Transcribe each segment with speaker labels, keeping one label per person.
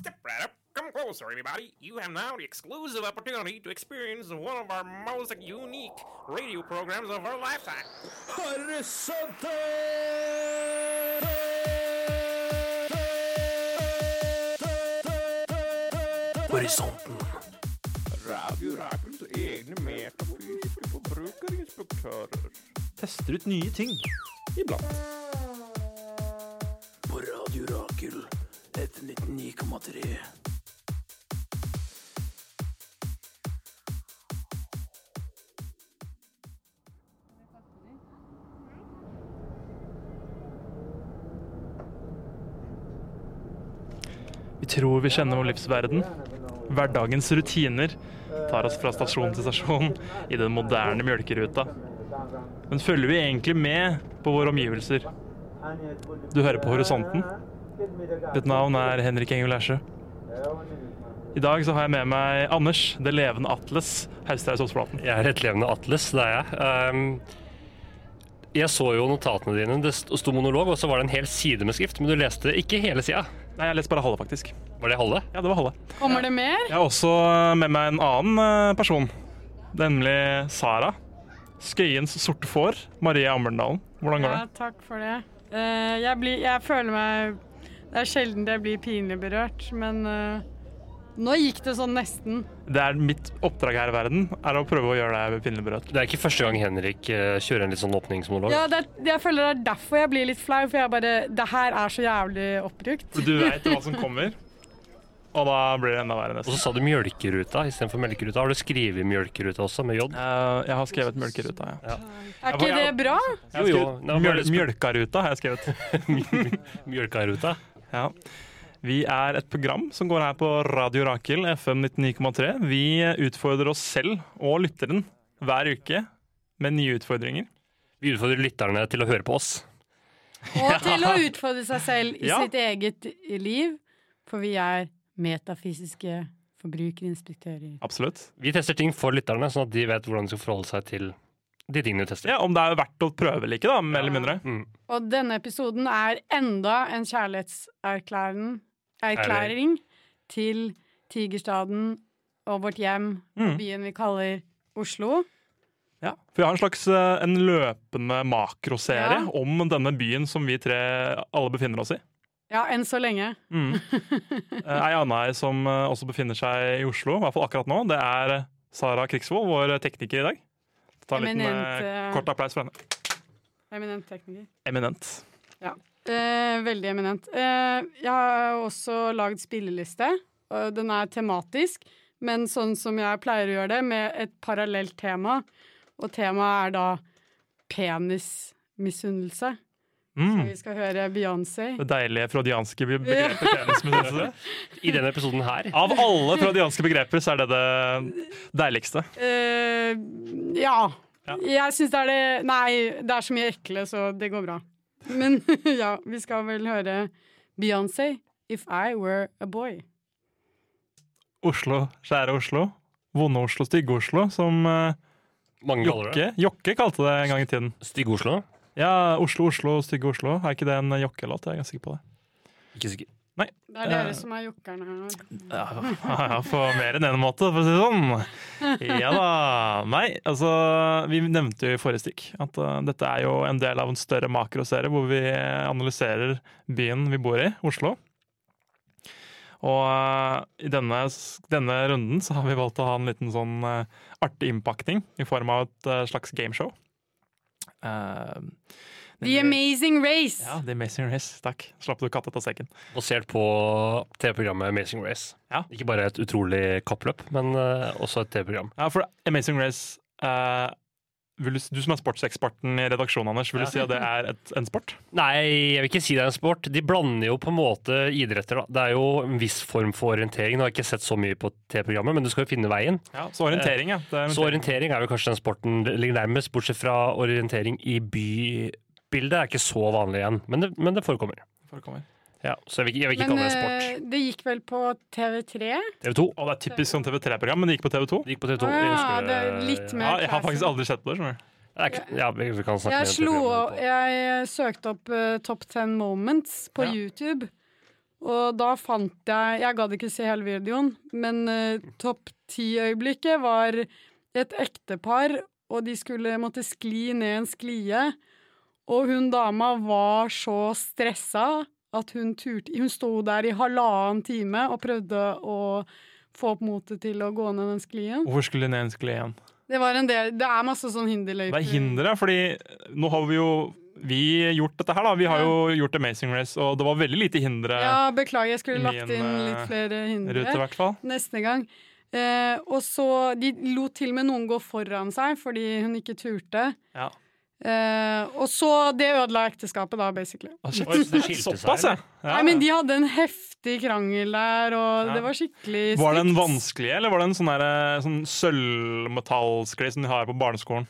Speaker 1: Step right up. Come closer, everybody. You have now the exclusive opportunity to experience one of our most unique radio programs of our lifetime.
Speaker 2: Horisonten.
Speaker 3: Tester ut nye ting.
Speaker 2: På Radio Rakel. Et 99,3.
Speaker 3: Vi tror vi kjenner vår livsverden. Hverdagens rutiner tar oss fra stasjon til stasjon i den moderne mjølkeruta. Men følger vi egentlig med på våre omgivelser? Du hører på Horisonten. Mitt navn er Henrik Engel Læsjø. I dag så har jeg med meg Anders, det levende Atlas, Haustreis Osplaten.
Speaker 4: Jeg er et levende atlas, det er jeg. Ehm, jeg så jo notatene dine. Det st- sto monolog, og så var det en hel side med skrift. Men du leste ikke hele sida.
Speaker 3: Nei, jeg leste bare halve, faktisk.
Speaker 4: Var det halve?
Speaker 3: Ja, det var halve.
Speaker 5: Kommer det mer?
Speaker 3: Jeg har også med meg en annen eh, person, nemlig Sara. Skøyens sorte får, Maria Ammerdalen. Hvordan går det?
Speaker 5: Ja, takk for det. Eh, jeg, blir, jeg føler meg Det er sjelden jeg blir pinlig berørt, men eh, nå gikk det sånn nesten.
Speaker 3: Det er mitt oppdrag her i verden, er å prøve å gjøre deg pinlig berørt.
Speaker 4: Det er ikke første gang Henrik eh, kjører en litt sånn åpningsmonolog.
Speaker 5: Ja, det, er- jeg føler det er derfor jeg blir litt flau, for jeg bare Det her er så jævlig oppbrukt.
Speaker 3: Du veit hva som kommer, og da blir det enda verre
Speaker 4: Og så
Speaker 3: nesten.
Speaker 4: sa du mjølkeruta istedenfor melkeruta. Har du skrevet mjølkeruta også, med j?
Speaker 3: Eh, Jeg har skrevet mjølkeruta, ja.
Speaker 5: Er ikke det bra?
Speaker 3: Jeg har
Speaker 4: Jo, jo.
Speaker 3: skrevet
Speaker 4: Nei, bare
Speaker 3: mjøl-
Speaker 4: spør-
Speaker 3: Mjølkaruta har jeg skrevet.
Speaker 4: Mjølkaruta?
Speaker 3: Ja. Vi er et program som går her på Radio Rakel, FM 99,3. Vi utfordrer oss selv og lytteren hver uke med nye utfordringer.
Speaker 4: Vi utfordrer lytterne til å høre på oss.
Speaker 5: Og til å utfordre seg selv i
Speaker 3: Ja.
Speaker 5: sitt eget liv, for vi er metafysiske forbrukerinstruktører.
Speaker 3: Absolutt.
Speaker 4: Vi tester ting for lytterne, sånn at de vet hvordan de skal forholde seg til de tingene de tester.
Speaker 3: Ja, Om det er verdt å prøve eller ikke, da, mer eller mindre.
Speaker 5: Og denne episoden er enda en kjærlighetserklæring erklæring til Tigerstaden og vårt hjem, og byen vi kaller Oslo.
Speaker 3: Ja, for Vi har en slags eh, en løpende makroserie
Speaker 5: Ja.
Speaker 3: om denne byen som vi tre alle befinner oss i.
Speaker 5: Ja, enn så lenge.
Speaker 3: Eh, Ei anna her som eh, også befinner seg i Oslo, i hvert fall akkurat nå, det er eh, Sara Krigsvold, vår tekniker i dag. Ta en liten
Speaker 5: Eminent,
Speaker 3: eh,
Speaker 5: eh,
Speaker 3: kort applaus for henne.
Speaker 5: Eminent tekniker.
Speaker 3: Eminent.
Speaker 5: Eh, veldig eminent. Eh, jeg har også lagd spilleliste. og Den er tematisk, men sånn som jeg pleier å gjøre det, med et parallelt tema. Og temaet er da penismisunnelse. Så
Speaker 3: Mm.
Speaker 5: vi skal høre Beyoncé.
Speaker 3: Det deilige freudianske be- begrepet penismisunnelse.
Speaker 4: I denne episoden her
Speaker 3: Av alle freudianske begreper så er det det deiligste.
Speaker 5: Eh, ja.
Speaker 3: Ja.
Speaker 5: Jeg syns det er det Nei, det er så mye ekle, så det går bra. Men ja, vi skal vel høre Beyoncé, 'If I Were A Boy'.
Speaker 3: Oslo, kjære Oslo. Vonde Oslo, stygge Oslo, som eh,
Speaker 4: Mange kaller det
Speaker 3: Jokke, Jokke kalte det en gang i tiden.
Speaker 4: Stygg Oslo.
Speaker 3: Ja, Oslo, Oslo, stygge Oslo. Er ikke det en Jokke-låt? Jeg er ganske sikker på det.
Speaker 4: Ikke sikker.
Speaker 5: Det er
Speaker 3: Eh.
Speaker 5: dere som er jokkerne her.
Speaker 3: Ja, på mer enn en måte, for å si det sånn. Ja da. Nei, altså Vi nevnte jo i forrige stikk at eh, dette er jo en del av en større makroserie hvor vi analyserer byen vi bor i, Oslo. Og eh, i denne, s- denne runden så har vi valgt å ha en liten sånn eh, artig innpakning i form av et eh, slags gameshow. Eh,
Speaker 5: The Amazing Race.
Speaker 3: Ja, The Amazing Race. Takk. Slapp du katta ut av sekken.
Speaker 4: Basert på TV-programmet Amazing Race.
Speaker 3: Ja.
Speaker 4: Ikke bare et utrolig kappløp, men eh, også et TV-program.
Speaker 3: Ja, for Amazing Race eh, vil du, s- du som er sportseksperten i redaksjonen, Anders, vil du si at det er et, en sport?
Speaker 4: Nei, jeg vil ikke si det er en sport. De blander jo på en måte idretter. Da. Det er jo en viss form for orientering. Nå har jeg ikke sett så mye på TV-programmet, men du skal jo finne veien.
Speaker 3: Ja, Så orientering, ja. Det er
Speaker 4: Så orientering er vel kanskje den sporten det ligger nærmest, bortsett fra orientering i bybildet. er ikke så vanlig igjen, men det, men det forekommer.
Speaker 3: forekommer.
Speaker 4: Ja, så jeg vil, ikke- jeg vil ikke
Speaker 5: Men
Speaker 4: kalle det en
Speaker 5: eh,
Speaker 4: sport.
Speaker 5: det gikk vel på TV3?
Speaker 4: TV 2.
Speaker 3: Og det er typisk sånn TV3-program, men det gikk på TV2.
Speaker 4: Det gikk på TV 2.
Speaker 5: Å ja, Ah, det er litt mer-
Speaker 3: Ja, jeg har faktisk aldri sett på det. skjønner du.
Speaker 4: Det er ikke- Ja, vi vi kan snakke
Speaker 5: Jeg, eh,
Speaker 4: mer om
Speaker 5: slo,
Speaker 4: TV-programmet etterpå.
Speaker 5: jeg søkte opp eh, Top 10 Moments på
Speaker 3: Ja.
Speaker 5: YouTube, Og da fant jeg Jeg gadd ikke se hele videoen, men eh, topp ti-øyeblikket var et ektepar, og de skulle måtte skli ned en sklie. Og hun dama var så stressa at hun turte Hun sto der i halvannen time og prøvde å få opp motet til å gå ned den sklien.
Speaker 3: Hvorfor skulle ned en skli igjen?
Speaker 5: Det var en del Det er masse sånn
Speaker 3: Det er
Speaker 5: hinderløyper.
Speaker 3: hinderet, fordi nå har vi jo vi gjort dette her, da. Vi har jo gjort Amazing Race, og det var veldig lite hindre
Speaker 5: Ja, beklager, jeg skulle lagt
Speaker 3: Min,
Speaker 5: inn litt
Speaker 3: eh,
Speaker 5: flere hindre.
Speaker 3: rundt, i hvert fall.
Speaker 5: neste gang. Eh, og så De lot til og med noen gå foran seg fordi hun ikke turte.
Speaker 3: Ja.
Speaker 5: Eh, og så Det ødela ekteskapet, da, basically.
Speaker 3: Å, shit.
Speaker 4: Oi, så det skilte seg,
Speaker 3: Såpass, ja. ja.
Speaker 5: Nei, men De hadde en heftig krangel der, og
Speaker 3: Ja.
Speaker 5: det var skikkelig
Speaker 3: Var den
Speaker 5: stygt.
Speaker 3: vanskelig, eller var det en sånn, der, eh, sånn sølvmetallskli som de har på barneskolen?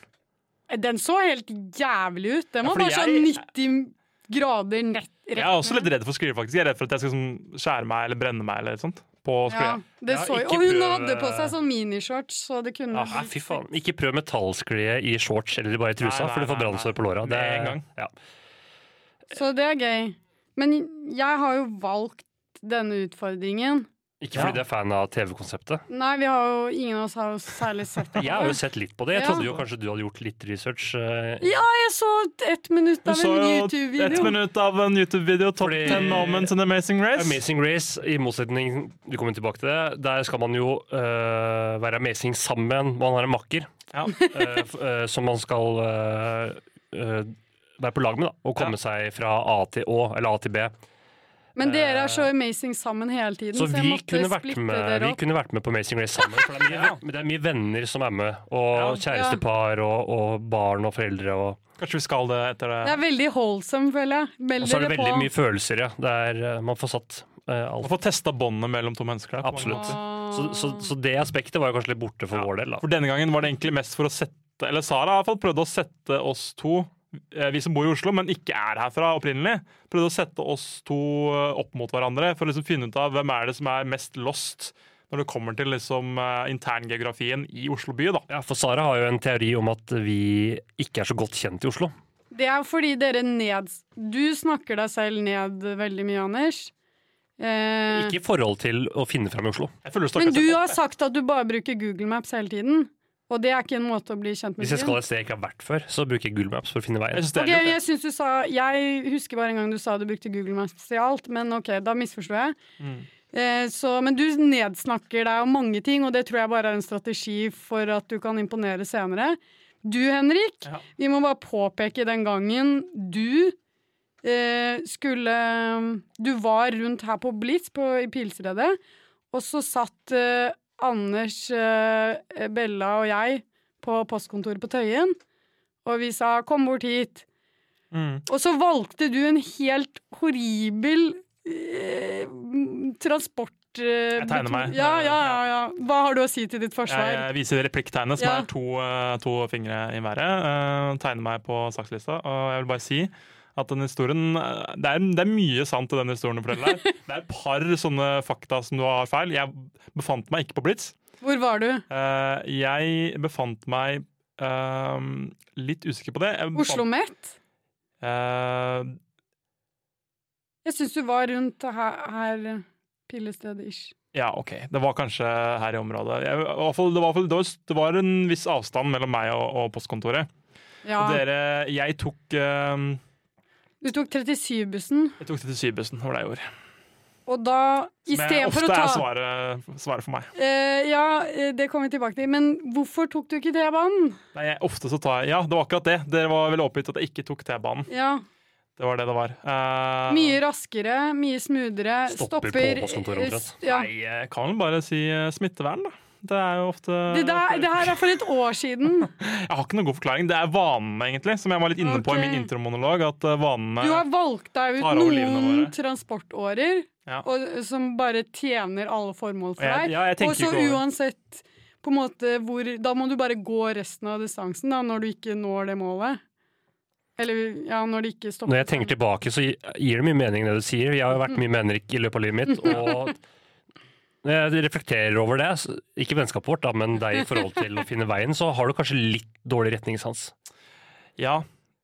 Speaker 5: Eh, Den så helt jævlig ut. Den
Speaker 3: Ja,
Speaker 5: var
Speaker 3: fordi
Speaker 5: bare sånn 90 grader nett rett
Speaker 3: Jeg er også litt redd for sklier, faktisk. Jeg er redd for at jeg skal sånn, skjære meg eller brenne meg eller et sånt. På sklia.
Speaker 5: Ja, det
Speaker 4: Ja,
Speaker 5: så,
Speaker 4: ikke
Speaker 5: og hun
Speaker 4: prøv,
Speaker 5: hadde på seg
Speaker 4: eh,
Speaker 5: sånn minishorts, så det kunne
Speaker 4: Ah, fy faen. Ikke prøv metallsklie i shorts eller bare i trusa,
Speaker 3: Nei, nei,
Speaker 4: for du får
Speaker 3: nei, nei.
Speaker 4: brannsår på låra.
Speaker 3: Med en gang.
Speaker 4: Ja.
Speaker 5: Så det er gøy. Men jeg har jo valgt denne utfordringen.
Speaker 4: Ikke
Speaker 3: Ja.
Speaker 4: fordi du er fan av TV-konseptet.
Speaker 5: Nei, vi har jo, ingen av oss har jo særlig sett det.
Speaker 4: Jeg har jo sett litt på det.
Speaker 5: Ja.
Speaker 4: Jeg trodde jo kanskje du hadde gjort litt research. eh,
Speaker 5: Ja, jeg så ett minutt
Speaker 3: Du
Speaker 5: av
Speaker 3: så
Speaker 5: en
Speaker 3: jo ett
Speaker 5: YouTube-video.
Speaker 3: minutt av en YouTube-video, Top
Speaker 4: Fordi-
Speaker 3: 10 Moments in Amazing Race.
Speaker 4: Amazing Race, i motsetning Vi kommer tilbake til det. Der skal man jo eh, være amazing sammen. Man har en makker
Speaker 3: Ja.
Speaker 4: eh, f- eh, som man skal eh, eh, være på lag med, da. Og komme seg fra A til Å, eller A til B.
Speaker 5: Men dere er så amazing sammen hele tiden,
Speaker 4: Så
Speaker 5: så, jeg
Speaker 4: vi
Speaker 5: måtte
Speaker 4: kunne, vært
Speaker 5: splitte
Speaker 4: med,
Speaker 5: dere
Speaker 4: vi
Speaker 5: opp.
Speaker 4: kunne vært med på Amazing Race sammen. For det er mye, men det er mye venner som er med. Og
Speaker 3: Ja.
Speaker 4: kjærestepar og, og barn og foreldre. Og,
Speaker 3: Kanskje vi skal det etter
Speaker 5: Det
Speaker 3: det.
Speaker 5: er veldig wholesome, føler jeg.
Speaker 4: og
Speaker 5: Meld
Speaker 4: så er det
Speaker 5: dere på.
Speaker 4: veldig mye følelser, ja. Det er, eh, man får satt eh,
Speaker 3: Å
Speaker 4: alt.
Speaker 3: få testa båndet mellom to mennesker. Der, på mange
Speaker 4: Absolutt.
Speaker 3: måter.
Speaker 4: Så, så, så det aspektet var jo kanskje litt borte for
Speaker 3: Ja.
Speaker 4: vår del, da.
Speaker 3: For denne gangen var det egentlig mest for å sette Eller Sara har i hvert fall prøvd å sette oss to, eh, vi som bor i Oslo, men ikke er herfra opprinnelig, prøvde å sette oss to eh, opp mot hverandre for å liksom finne ut av hvem er det som er mest lost når det kommer til liksom eh, interngeografien i Oslo by. da.
Speaker 4: Ja, for Sara har jo en teori om at vi ikke er så godt kjent i Oslo.
Speaker 5: Det er fordi dere ned... Du snakker deg selv ned veldig mye, Anders. Eh,
Speaker 4: Ikke i forhold til å finne frem i Oslo.
Speaker 3: Jeg føler
Speaker 5: men du
Speaker 3: har
Speaker 5: har sagt at du bare bruker Google Maps hele tiden. Og det er ikke en måte å bli kjent med
Speaker 4: Hvis jeg skal
Speaker 5: byen.
Speaker 4: et sted jeg ikke har vært før, så bruker jeg Google Maps for å finne
Speaker 3: jeg
Speaker 4: veien.
Speaker 3: synes det
Speaker 5: Ok,
Speaker 3: er lurt,
Speaker 5: jeg, synes du sa, jeg husker bare en gang du sa du brukte Google Maps til alt, men ok, da misforsto jeg.
Speaker 3: Mm.
Speaker 5: Eh, så, men du nedsnakker deg om mange ting, og det tror jeg bare er en strategi for at du kan imponere senere. Du, Henrik,
Speaker 3: Ja.
Speaker 5: vi må bare påpeke den gangen du eh, skulle Du var rundt her på Blitz på, i Pilsredet, og så satt eh, Anders, eh, Bella og jeg på postkontoret på Tøyen, og vi sa 'kom bort hit'.
Speaker 3: Mm.
Speaker 5: Og så valgte du en helt horribel eh, transport... eh,
Speaker 3: Jeg tegner meg.
Speaker 5: Ja, ja, ja, ja. Hva har du å si til ditt forsvar?
Speaker 3: Jeg viser replikktegnet, som
Speaker 5: Ja.
Speaker 3: er to, eh, to fingre i været. eh, tegner meg på sakslista, og jeg vil bare si at den historien, eh, det, er, det er mye sant i den historien du forteller. her. Det er et par sånne fakta som du har feil. Jeg befant meg ikke på Blitz.
Speaker 5: Hvor var du?
Speaker 3: Eh, jeg befant meg eh, litt usikker på det. Jeg befant-
Speaker 5: Oslo Met?
Speaker 3: Eh,
Speaker 5: Jeg syns du var rundt her, her eh, pillestedet-ish.
Speaker 3: ja, OK. Det var kanskje her i området. Jeg, i hvert fall, det, var, i hvert fall- det, var, det var en viss avstand mellom meg og, og postkontoret.
Speaker 5: Ja.
Speaker 3: Og dere, jeg tok eh,
Speaker 5: Du tok 37-bussen,
Speaker 3: Jeg tok 37-bussen, det var det jeg gjorde.
Speaker 5: og da
Speaker 3: Som jeg-
Speaker 5: istedenfor
Speaker 3: ofte
Speaker 5: å ta
Speaker 3: er svaret, svaret for meg.
Speaker 5: eh, Ja, eh, det kommer vi tilbake til, men hvorfor tok du ikke T-banen?
Speaker 3: Nei, jeg, ofte så tar jeg Ja, det var akkurat det. Dere var veldig oppgitt at jeg ikke tok T-banen.
Speaker 5: Ja.
Speaker 3: Det var det det var. Eh,
Speaker 5: Mye raskere, mye smoothere.
Speaker 4: Stopper på
Speaker 5: Stopper,
Speaker 4: postkontoret omtrent.
Speaker 5: eh, s- Ja.
Speaker 3: Nei, jeg kan vel bare si eh, smittevern, da. Det er jo ofte
Speaker 5: Det, der, det her er for et år siden.
Speaker 3: Jeg har ikke noen god forklaring. Det er vanene, egentlig, som jeg var litt inne på i min
Speaker 5: Ok.
Speaker 3: intromonolog. At eh, vanene
Speaker 5: Du har valgt deg ut
Speaker 3: tar over livene
Speaker 5: noen
Speaker 3: våre.
Speaker 5: transportårer
Speaker 3: Ja.
Speaker 5: og, som bare tjener alle formål for
Speaker 3: Og jeg-
Speaker 5: deg.
Speaker 3: ja, jeg tenker
Speaker 5: og så
Speaker 3: ikke over det.
Speaker 5: uansett på en måte hvor Da må du bare gå resten av distansen da, når du ikke når det målet. Eller ja, når det ikke stopper.
Speaker 4: Når jeg tenker tilbake, så gir det mye mening det du sier. Jeg har jo vært mye menerik i løpet av livet mitt, og når jeg reflekterer over det, så- ikke vennskapet vårt, da, men deg i forhold til å finne veien, så har du kanskje litt dårlig retningssans.
Speaker 3: Ja.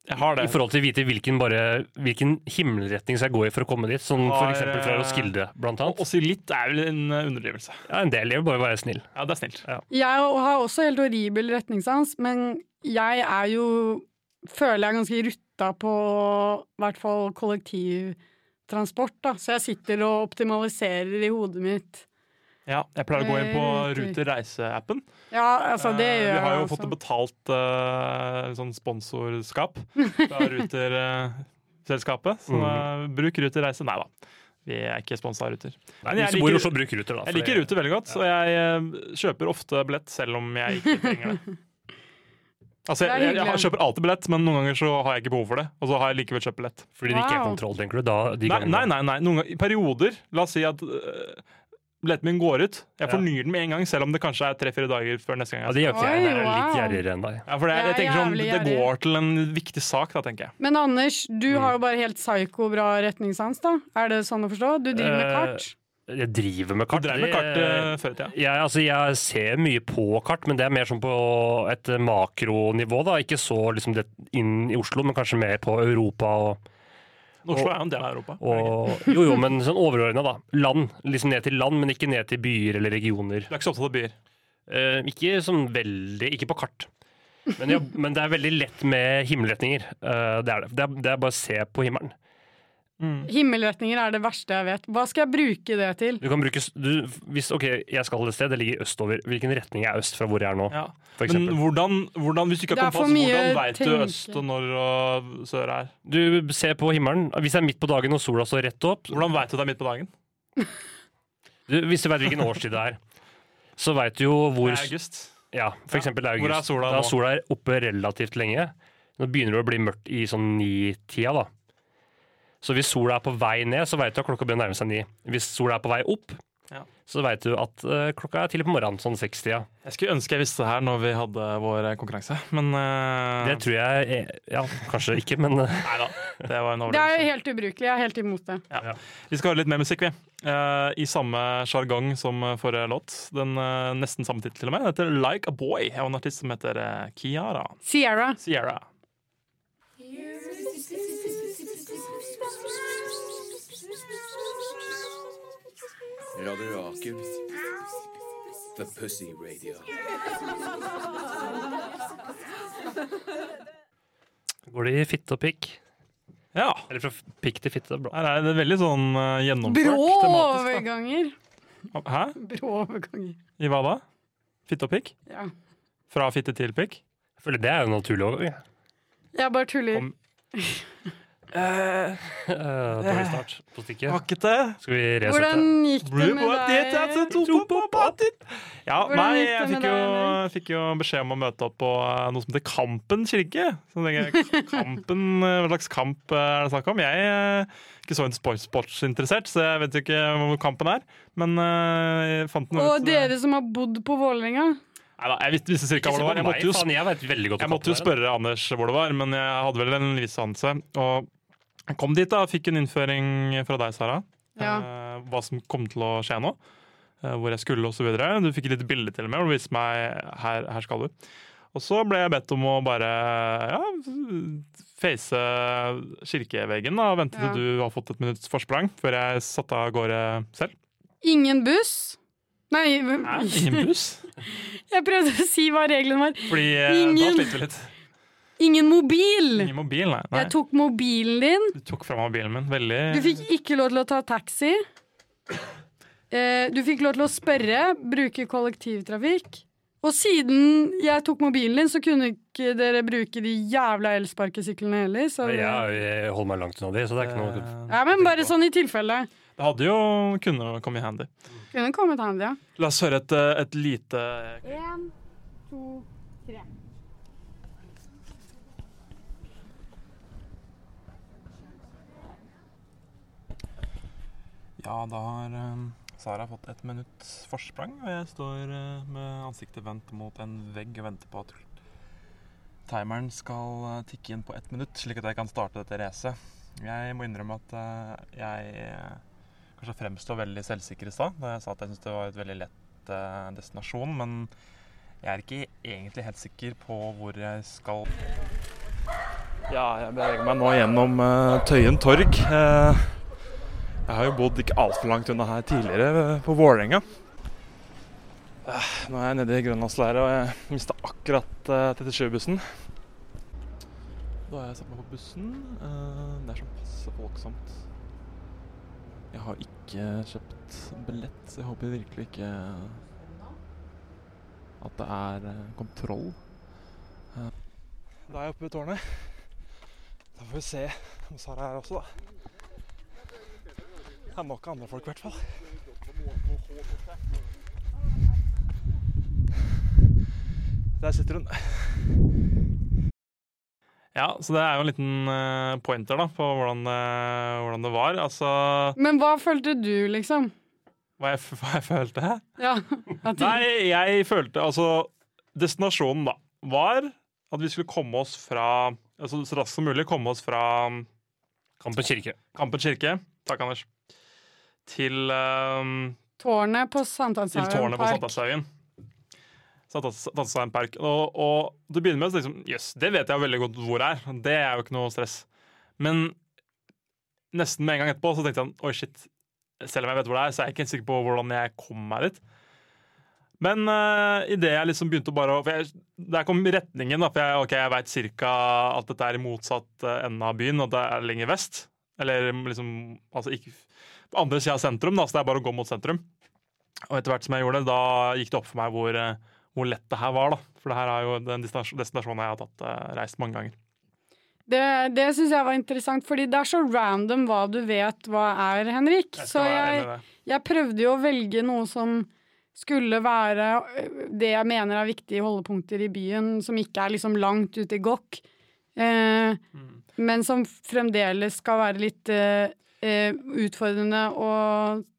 Speaker 3: Jeg har det.
Speaker 4: I forhold til å vite hvilken, bare, hvilken himmelretning skal jeg gå i for å komme dit. Sånn for
Speaker 3: Har,
Speaker 4: eksempel fra
Speaker 3: eh,
Speaker 4: Roskilde, blant
Speaker 3: Og
Speaker 4: annet.
Speaker 3: også litt er vel en eh, underdrivelse.
Speaker 4: Ja, en del. Jeg vil bare være snill.
Speaker 3: Ja, det er snilt.
Speaker 5: Jeg har også helt horribel retningssans, men jeg er jo Føler jeg er ganske rutta på i hvert fall kollektivtransport, da. Så jeg sitter og optimaliserer i hodet mitt.
Speaker 3: Ja, jeg pleier å gå inn på
Speaker 5: Ruter.
Speaker 3: Ruter reise-appen.
Speaker 5: Ja, altså, det
Speaker 3: Eh,
Speaker 5: gjør jeg.
Speaker 3: Vi har jo
Speaker 5: også.
Speaker 3: fått betalt eh, sånn sponsorskap fra Ruter-selskapet. Så eh, bruk Ruter reise. Nei da, vi er ikke sponsa av Ruter.
Speaker 4: Nei,
Speaker 3: Men jeg
Speaker 4: hvis du bor i
Speaker 3: liker-
Speaker 4: Oslo, bruk Ruter, da.
Speaker 3: Jeg
Speaker 4: for
Speaker 3: liker Ruter veldig godt, og jeg eh, kjøper ofte billett selv om jeg ikke trenger det. Altså,
Speaker 5: Det er
Speaker 3: jeg, jeg,
Speaker 5: hyggelig.
Speaker 3: kjøper alltid billett, men noen ganger så har jeg ikke behov for det. Og så har jeg likevel kjøpt billett.
Speaker 4: Fordi det ikke er
Speaker 5: Wow.
Speaker 4: kontroll, tenker du? Da, de
Speaker 3: Nei,
Speaker 4: gangene.
Speaker 3: nei, nei, nei. Noen ganger, i perioder. La oss si at øh, billetten min går ut. Jeg
Speaker 4: Ja.
Speaker 3: fornyer den med en gang, selv om det kanskje er tre-fire dager før neste gang.
Speaker 4: Ja,
Speaker 3: jeg
Speaker 4: det gjør ikke jeg.
Speaker 5: Oi,
Speaker 4: Jeg er litt
Speaker 5: wow.
Speaker 4: gjerrigere enn deg.
Speaker 3: Ja, for det, er- jeg
Speaker 5: Det er
Speaker 3: tenker sånn,
Speaker 5: jævlig
Speaker 3: det
Speaker 5: gjerrig.
Speaker 3: går til en viktig sak, da, tenker jeg.
Speaker 5: Men Anders,
Speaker 3: Mm.
Speaker 5: du har jo bare helt psyko-bra retningssans, da. Er det sånn å forstå? Du driver med
Speaker 4: Eh,
Speaker 5: kart.
Speaker 4: Jeg driver med
Speaker 3: Du
Speaker 4: kart.
Speaker 3: drev med
Speaker 4: Det-
Speaker 3: kart øh, før i tida.
Speaker 4: Jeg, altså, jeg ser mye på kart, men det er mer sånn på et makronivå. da. Ikke så liksom, det inn i Oslo, men kanskje mer på Europa og,
Speaker 3: Oslo er jo en del av Europa. er det ikke?
Speaker 4: og Jo, jo, men sånn overordna, da. Land. Liksom ned til land, men ikke ned til byer eller regioner.
Speaker 3: Du er ikke så opptatt av byer.
Speaker 4: Eh, ikke sånn veldig Ikke på kart. Men, jeg, men det er veldig lett med himmelretninger. Eh, det er det. Det er, det er bare å se på himmelen.
Speaker 5: Himmelretninger er det verste jeg vet. Hva skal jeg bruke det til?
Speaker 4: Du kan bruke s- du, hvis, OK, jeg skal et sted, det ligger østover. Hvilken retning er øst fra hvor jeg er nå?
Speaker 3: Ja.
Speaker 4: For
Speaker 3: Men
Speaker 4: eksempel.
Speaker 3: hvordan, hvordan, hvis du ikke
Speaker 5: Det
Speaker 3: har
Speaker 5: er for
Speaker 3: kompass, hvordan
Speaker 5: mye
Speaker 3: veit du
Speaker 5: tenke.
Speaker 3: øst og nord og sør er?
Speaker 4: Du ser på himmelen. Hvis det er midt på dagen og sola står rett opp,
Speaker 3: Hvordan veit du det er midt på dagen?
Speaker 4: du, hvis du vet hvilken årstid det er, så veit du jo
Speaker 3: Det
Speaker 4: hvor
Speaker 3: er august.
Speaker 4: Ja, for eksempel august.
Speaker 3: Hvor er sola
Speaker 4: da
Speaker 3: nå?
Speaker 4: er sola er oppe relativt lenge. Nå begynner det å bli mørkt i sånn ni-tida, da. Så hvis sola er på vei ned, så veit du at klokka begynner å nærme seg ni. Hvis sola er på vei opp,
Speaker 3: Ja.
Speaker 4: så veit du at eh, klokka er tidlig på morgenen, sånn sekstida.
Speaker 3: Jeg skulle ønske jeg visste det her når vi hadde vår eh, konkurranse, men øh,
Speaker 4: Det tror jeg er, Ja, kanskje ikke, men eh,
Speaker 3: Neida, det var en
Speaker 5: Det er
Speaker 3: overraskelse.
Speaker 5: jo helt ubrukelig. Jeg er helt imot det.
Speaker 3: Vi skal høre litt mer musikk, vi. Eh, I samme sjargong som eh, forrige låt. Den eh, Nesten samme tittel til og med. Den heter Like a Boy av en artist som heter eh, Kiara.
Speaker 5: Sierra.
Speaker 3: Sierra.
Speaker 2: Radio Rakel. The Pussy Radio.
Speaker 4: går det i fitte og pikk?
Speaker 3: Ja.
Speaker 4: Eller fra f- pikk til fitte, bra.
Speaker 3: Her er det veldig sånn eh, gjennomført
Speaker 5: Brå
Speaker 3: tematisk.
Speaker 5: overganger.
Speaker 3: Da. Hæ?
Speaker 5: Brå overganger.
Speaker 3: I hva da? Fitte og pikk?
Speaker 5: Ja.
Speaker 3: Fra fitte til pikk?
Speaker 4: Jeg føler det er jo en naturlig eh, overgang. jeg.
Speaker 5: Jeg bare tuller.
Speaker 3: Om- Eh,
Speaker 4: Eh, Dårlig start på stikket.
Speaker 3: Hakkete.
Speaker 4: Skal vi resette?
Speaker 5: Hvordan gikk det med
Speaker 3: altså
Speaker 5: deg?
Speaker 3: Ja,
Speaker 5: Hvordan
Speaker 3: nei,
Speaker 5: gikk det
Speaker 3: jeg
Speaker 5: med
Speaker 3: fikk jo,
Speaker 5: deg,
Speaker 3: fikk jo beskjed om å møte opp på eh, noe som heter Kampen kirke. Så tenker jeg, kampen, eh, Hva slags kamp eh, er det snakk om? Jeg er ikke så en sports- sportsinteressert, så jeg vet jo ikke hvor kampen er. Men eh, jeg fant noe
Speaker 5: Og dere som har bodd på Vålerenga.
Speaker 3: Neida, jeg visste, visste cirka
Speaker 4: Ikke
Speaker 3: hvor det
Speaker 4: se på
Speaker 3: var. Jeg
Speaker 4: meg,
Speaker 3: måtte jo
Speaker 4: faen, jeg vet veldig godt
Speaker 3: jeg
Speaker 4: hva
Speaker 3: måtte jo
Speaker 4: kampen er.
Speaker 3: spørre Anders hvor det var, men jeg hadde vel en viss anelse. Og jeg kom dit da, fikk en innføring fra deg, Sara.
Speaker 5: Ja.
Speaker 3: eh, Hva som kom til å skje nå. eh, Hvor jeg skulle osv. Du fikk et lite bilde til og med og viste meg her, her skal du. Og så ble jeg bedt om å bare ja, face kirkeveggen da, og vente
Speaker 5: Ja.
Speaker 3: til du har fått et minutts forsprang før jeg satte av gårde selv.
Speaker 5: Ingen buss. Nei,
Speaker 3: Ingen buss.
Speaker 5: jeg prøvde å si hva reglene var.
Speaker 3: Fordi eh, da
Speaker 5: Ingen.
Speaker 3: sliter vi litt.
Speaker 5: Ingen mobil!
Speaker 3: Ingen mobil, nei. nei.
Speaker 5: Jeg tok mobilen din.
Speaker 3: Du tok fra meg mobilen min. Veldig
Speaker 5: Du fikk ikke lov til å ta taxi. Eh, Du fikk lov til å spørre, bruke kollektivtrafikk. Og siden jeg tok mobilen din, så kunne ikke dere bruke de jævla elsparkesyklene heller. Så
Speaker 4: Jeg, jeg holder meg langt unna de, så det er ikke noe
Speaker 3: Eh,
Speaker 5: ja, men bare sånn i tilfelle.
Speaker 3: Det hadde jo kunnet komme i handy.
Speaker 5: Kunne kommet handy, ja.
Speaker 3: La oss høre et, eh, et lite
Speaker 5: En, to, tre.
Speaker 3: Ja, da har eh, Sara fått et minutts forsprang, og jeg står eh, med ansiktet vendt mot en vegg og venter på at timeren skal eh, tikke inn på ett minutt, slik at jeg kan starte dette racet. Jeg må innrømme at eh, jeg eh, kanskje fremstår veldig selvsikker i stad, da jeg sa at jeg syntes det var et veldig lett eh, destinasjon, men jeg er ikke egentlig helt sikker på hvor jeg skal
Speaker 6: Ja, jeg beveger meg nå gjennom eh, Tøyen torg. Eh, jeg har jo bodd ikke altfor langt unna her tidligere, eh, på Vålerenga. Eh, nå er jeg nede i grønlandsleiret, og jeg mista akkurat uh, 37-bussen. Da har jeg satt meg på bussen. Eh, det er sånn passe folksomt. Jeg har ikke kjøpt billett, så jeg håper virkelig ikke at det er eh, kontroll. Eh, da er jeg oppe ved tårnet. Da får vi se om Sara er også, da. Det er nok av andre folk, i hvert fall. Der sitter hun.
Speaker 3: Ja, så det er jo en liten eh, pointer da, på hvordan, eh, hvordan det var. Altså,
Speaker 5: Men hva følte du, liksom?
Speaker 3: hva jeg, f- hva jeg følte her?
Speaker 5: Ja, at de,
Speaker 3: Nei, jeg følte altså Destinasjonen da var at vi skulle komme oss fra altså så raskt som mulig komme oss fra um,
Speaker 4: Kampen kirke.
Speaker 3: Kampen kirke Takk, Anders. Til, ehm,
Speaker 5: tårnet på
Speaker 3: til
Speaker 5: Sankthanshaugen
Speaker 3: tårnet på
Speaker 5: park.
Speaker 3: Sankthanshaugen. Sankthanshaugen park. Og, og til å begynne med så liksom, jøss, det vet jeg jo veldig godt hvor er. Det er jo ikke noe stress. Men nesten med en gang etterpå så tenkte jeg sånn, oi shit, selv om jeg vet hvor det er, så er jeg ikke helt sikker på hvordan jeg kom meg dit. Men uh, idet jeg liksom begynte å bare å- for jeg, Der kom retningen, da. For jeg, ok, jeg veit cirka at dette er i motsatt eh, ende av byen, og det er lenger vest. Eller liksom altså ikke, på andre sida av sentrum, da, så det er bare å gå mot sentrum. Og etter hvert som jeg gjorde det, da gikk det opp for meg hvor, eh, hvor lett det her var. da. For det her er jo den destinasjon- destinasjonen jeg har tatt, eh, reist mange ganger.
Speaker 5: Det, det syns jeg var interessant, fordi det er så random hva du vet hva er, Henrik. så
Speaker 3: skal være
Speaker 5: jeg,
Speaker 3: enig i det.
Speaker 5: jeg prøvde jo å velge noe som skulle være øh, det jeg mener er viktige holdepunkter i byen, som ikke er liksom langt ute i gokk, eh,
Speaker 3: Mm.
Speaker 5: men som fremdeles skal være litt eh, eh, utfordrende å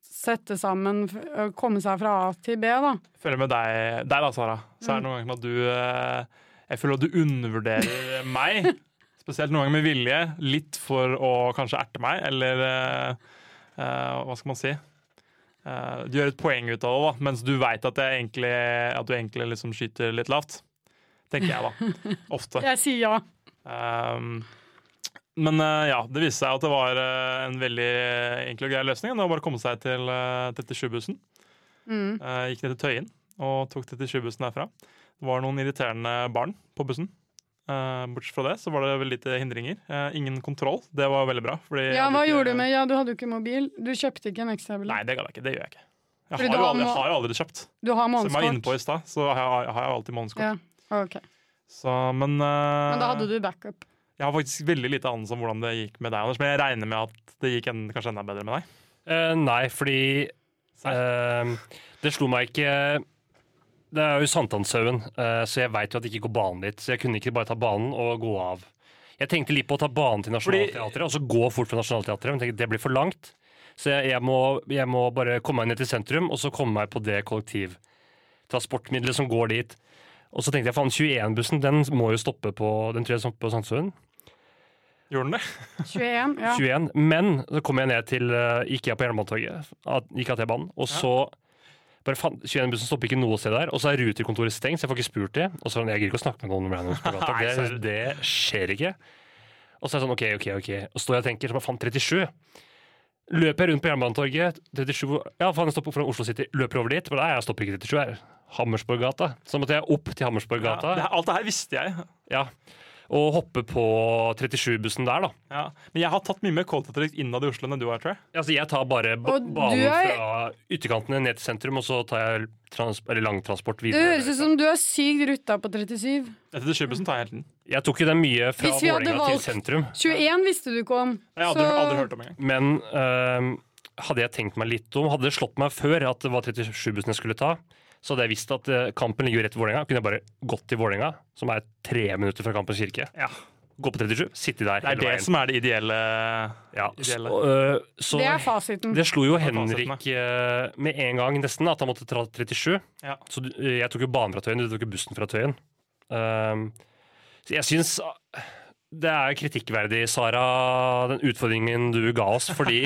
Speaker 5: sette sammen, f- å komme seg fra A til B, da.
Speaker 3: Følger med deg der, da, Sara. Så
Speaker 5: Mm.
Speaker 3: er det noen ganger at du eh, Jeg føler at du undervurderer meg. Spesielt noen ganger med vilje. Litt for å kanskje erte meg, eller eh, eh, hva skal man si? Eh, du gjør et poeng ut av det, da, mens du veit at, jeg egentlig- at du egentlig liksom skyter litt lavt. Tenker jeg, da. Ofte.
Speaker 5: Jeg sier ja.
Speaker 3: Um, men eh, ja, det viste seg at det var eh, en veldig enkel og grei løsning. Det var bare å komme seg til eh, 37-bussen.
Speaker 5: Mm.
Speaker 3: Eh, gikk ned til Tøyen og tok 37-bussen derfra. Det var noen irriterende barn på bussen. Eh, bortsett fra det så var det veldig lite hindringer. Eh, ingen kontroll. Det eh, var veldig bra. Fordi jeg
Speaker 5: Ja,
Speaker 3: hadde
Speaker 5: hva
Speaker 3: ikke-
Speaker 5: gjorde du med Ja, du hadde jo ikke mobil. Du kjøpte ikke en ekstrabillett.
Speaker 3: Nei, det gadd jeg ikke. Det gjør jeg ikke. Jeg
Speaker 5: Fordi
Speaker 3: har,
Speaker 5: du
Speaker 3: jo
Speaker 5: har
Speaker 3: aldri,
Speaker 5: må-
Speaker 3: jeg har jo aldri kjøpt.
Speaker 5: Du har
Speaker 3: Som jeg var inne på
Speaker 5: månedskort.
Speaker 3: i stad, så har jeg, har jeg alltid månedskort.
Speaker 5: Ja, ok.
Speaker 3: Så, men, eh,
Speaker 5: Men da hadde du backup.
Speaker 3: Jeg har faktisk veldig lite anelse om hvordan det gikk med deg, Anders, men jeg regner med at det gikk en, kanskje enda bedre med deg.
Speaker 4: Eh, nei, fordi eh, Det slo meg ikke Det er jo Sankthanshaugen, eh, så jeg veit jo at det ikke går banen dit. Så jeg kunne ikke bare ta banen og gå av. Jeg tenkte litt på å ta banen til Nationaltheatret og så gå fort fra Nationaltheatret. Men jeg tenkte, det blir for langt, så jeg, jeg, må, jeg må bare komme meg ned til sentrum og så komme meg på det kollektivtransportmiddelet som går dit. Og så tenkte jeg faen, 21-bussen den må jo stoppe på Den tror jeg stopper på Sankthanshaugen.
Speaker 3: Gjorde den det?
Speaker 5: 21, ja.
Speaker 4: 21, men så kom jeg ned til eh, Gikk jeg på Jernbanetorget, at- gikk av T-banen, og så bare faen, 21-bussen stopper ikke noe sted der, og så er ruterkontoret stengt, så jeg får ikke spurt det. Og så er det sånn, jeg gidder ikke å snakke med noen om randoms på gata,
Speaker 3: Nei,
Speaker 4: det, det skjer ikke. Og så er det sånn, ok, ok, ok. Og så står jeg og tenker, så bare faen, 37. Løper jeg rundt på Jernbanetorget, 37, ja faen, jeg stopper fra Oslo City, løper over dit, men nei, jeg stopper ikke 37 her. Hammersborggata. Så da måtte jeg opp til Hammersborggata,
Speaker 3: det her- alt det her visste jeg.
Speaker 4: ja. Og hoppe på 37-bussen der, da.
Speaker 3: Ja. Men jeg har tatt mye mer kollektivtrykk innad i Oslo enn det du har, tror jeg.
Speaker 4: Altså, jeg tar bare ba-
Speaker 5: Og du
Speaker 4: banen
Speaker 5: er-
Speaker 4: fra ytterkantene ned til sentrum, og så tar jeg trans eller langtransport
Speaker 5: Det
Speaker 4: videre.
Speaker 5: høres ut som du er sykt rutta på 37.
Speaker 3: Etter det skybussen tar jeg helt den.
Speaker 4: Jeg tok jo den mye fra
Speaker 5: Hvis vi hadde
Speaker 4: Vålerenga
Speaker 5: valgt-
Speaker 4: til sentrum,
Speaker 5: 21 visste du ikke om.
Speaker 3: Jeg har aldri, aldri hørt om engang.
Speaker 4: men øhm, hadde jeg tenkt meg litt om, hadde det slått meg før at det var 37-bussen jeg skulle ta, så hadde jeg visst at eh, kampen ligger jo rett til Vålerenga, kunne jeg bare gått til Vålerenga, som er tre minutter fra Kampens kirke,
Speaker 3: Ja.
Speaker 4: gå på 37, sitte der
Speaker 3: Det er
Speaker 4: hele
Speaker 3: det
Speaker 4: veien.
Speaker 3: som er det ideelle.
Speaker 4: Ja, så,
Speaker 3: ideelle.
Speaker 4: øh, så
Speaker 5: Det er fasiten.
Speaker 4: Det slo jo
Speaker 3: Det var
Speaker 4: Henrik eh, med en gang nesten, at han måtte ta 37.
Speaker 3: Ja.
Speaker 4: Så du- eh, jeg tok jo banen fra Tøyen, du tok jo bussen fra Tøyen. Um, så jeg syns ah, det er kritikkverdig, Sara, den utfordringen du ga oss, fordi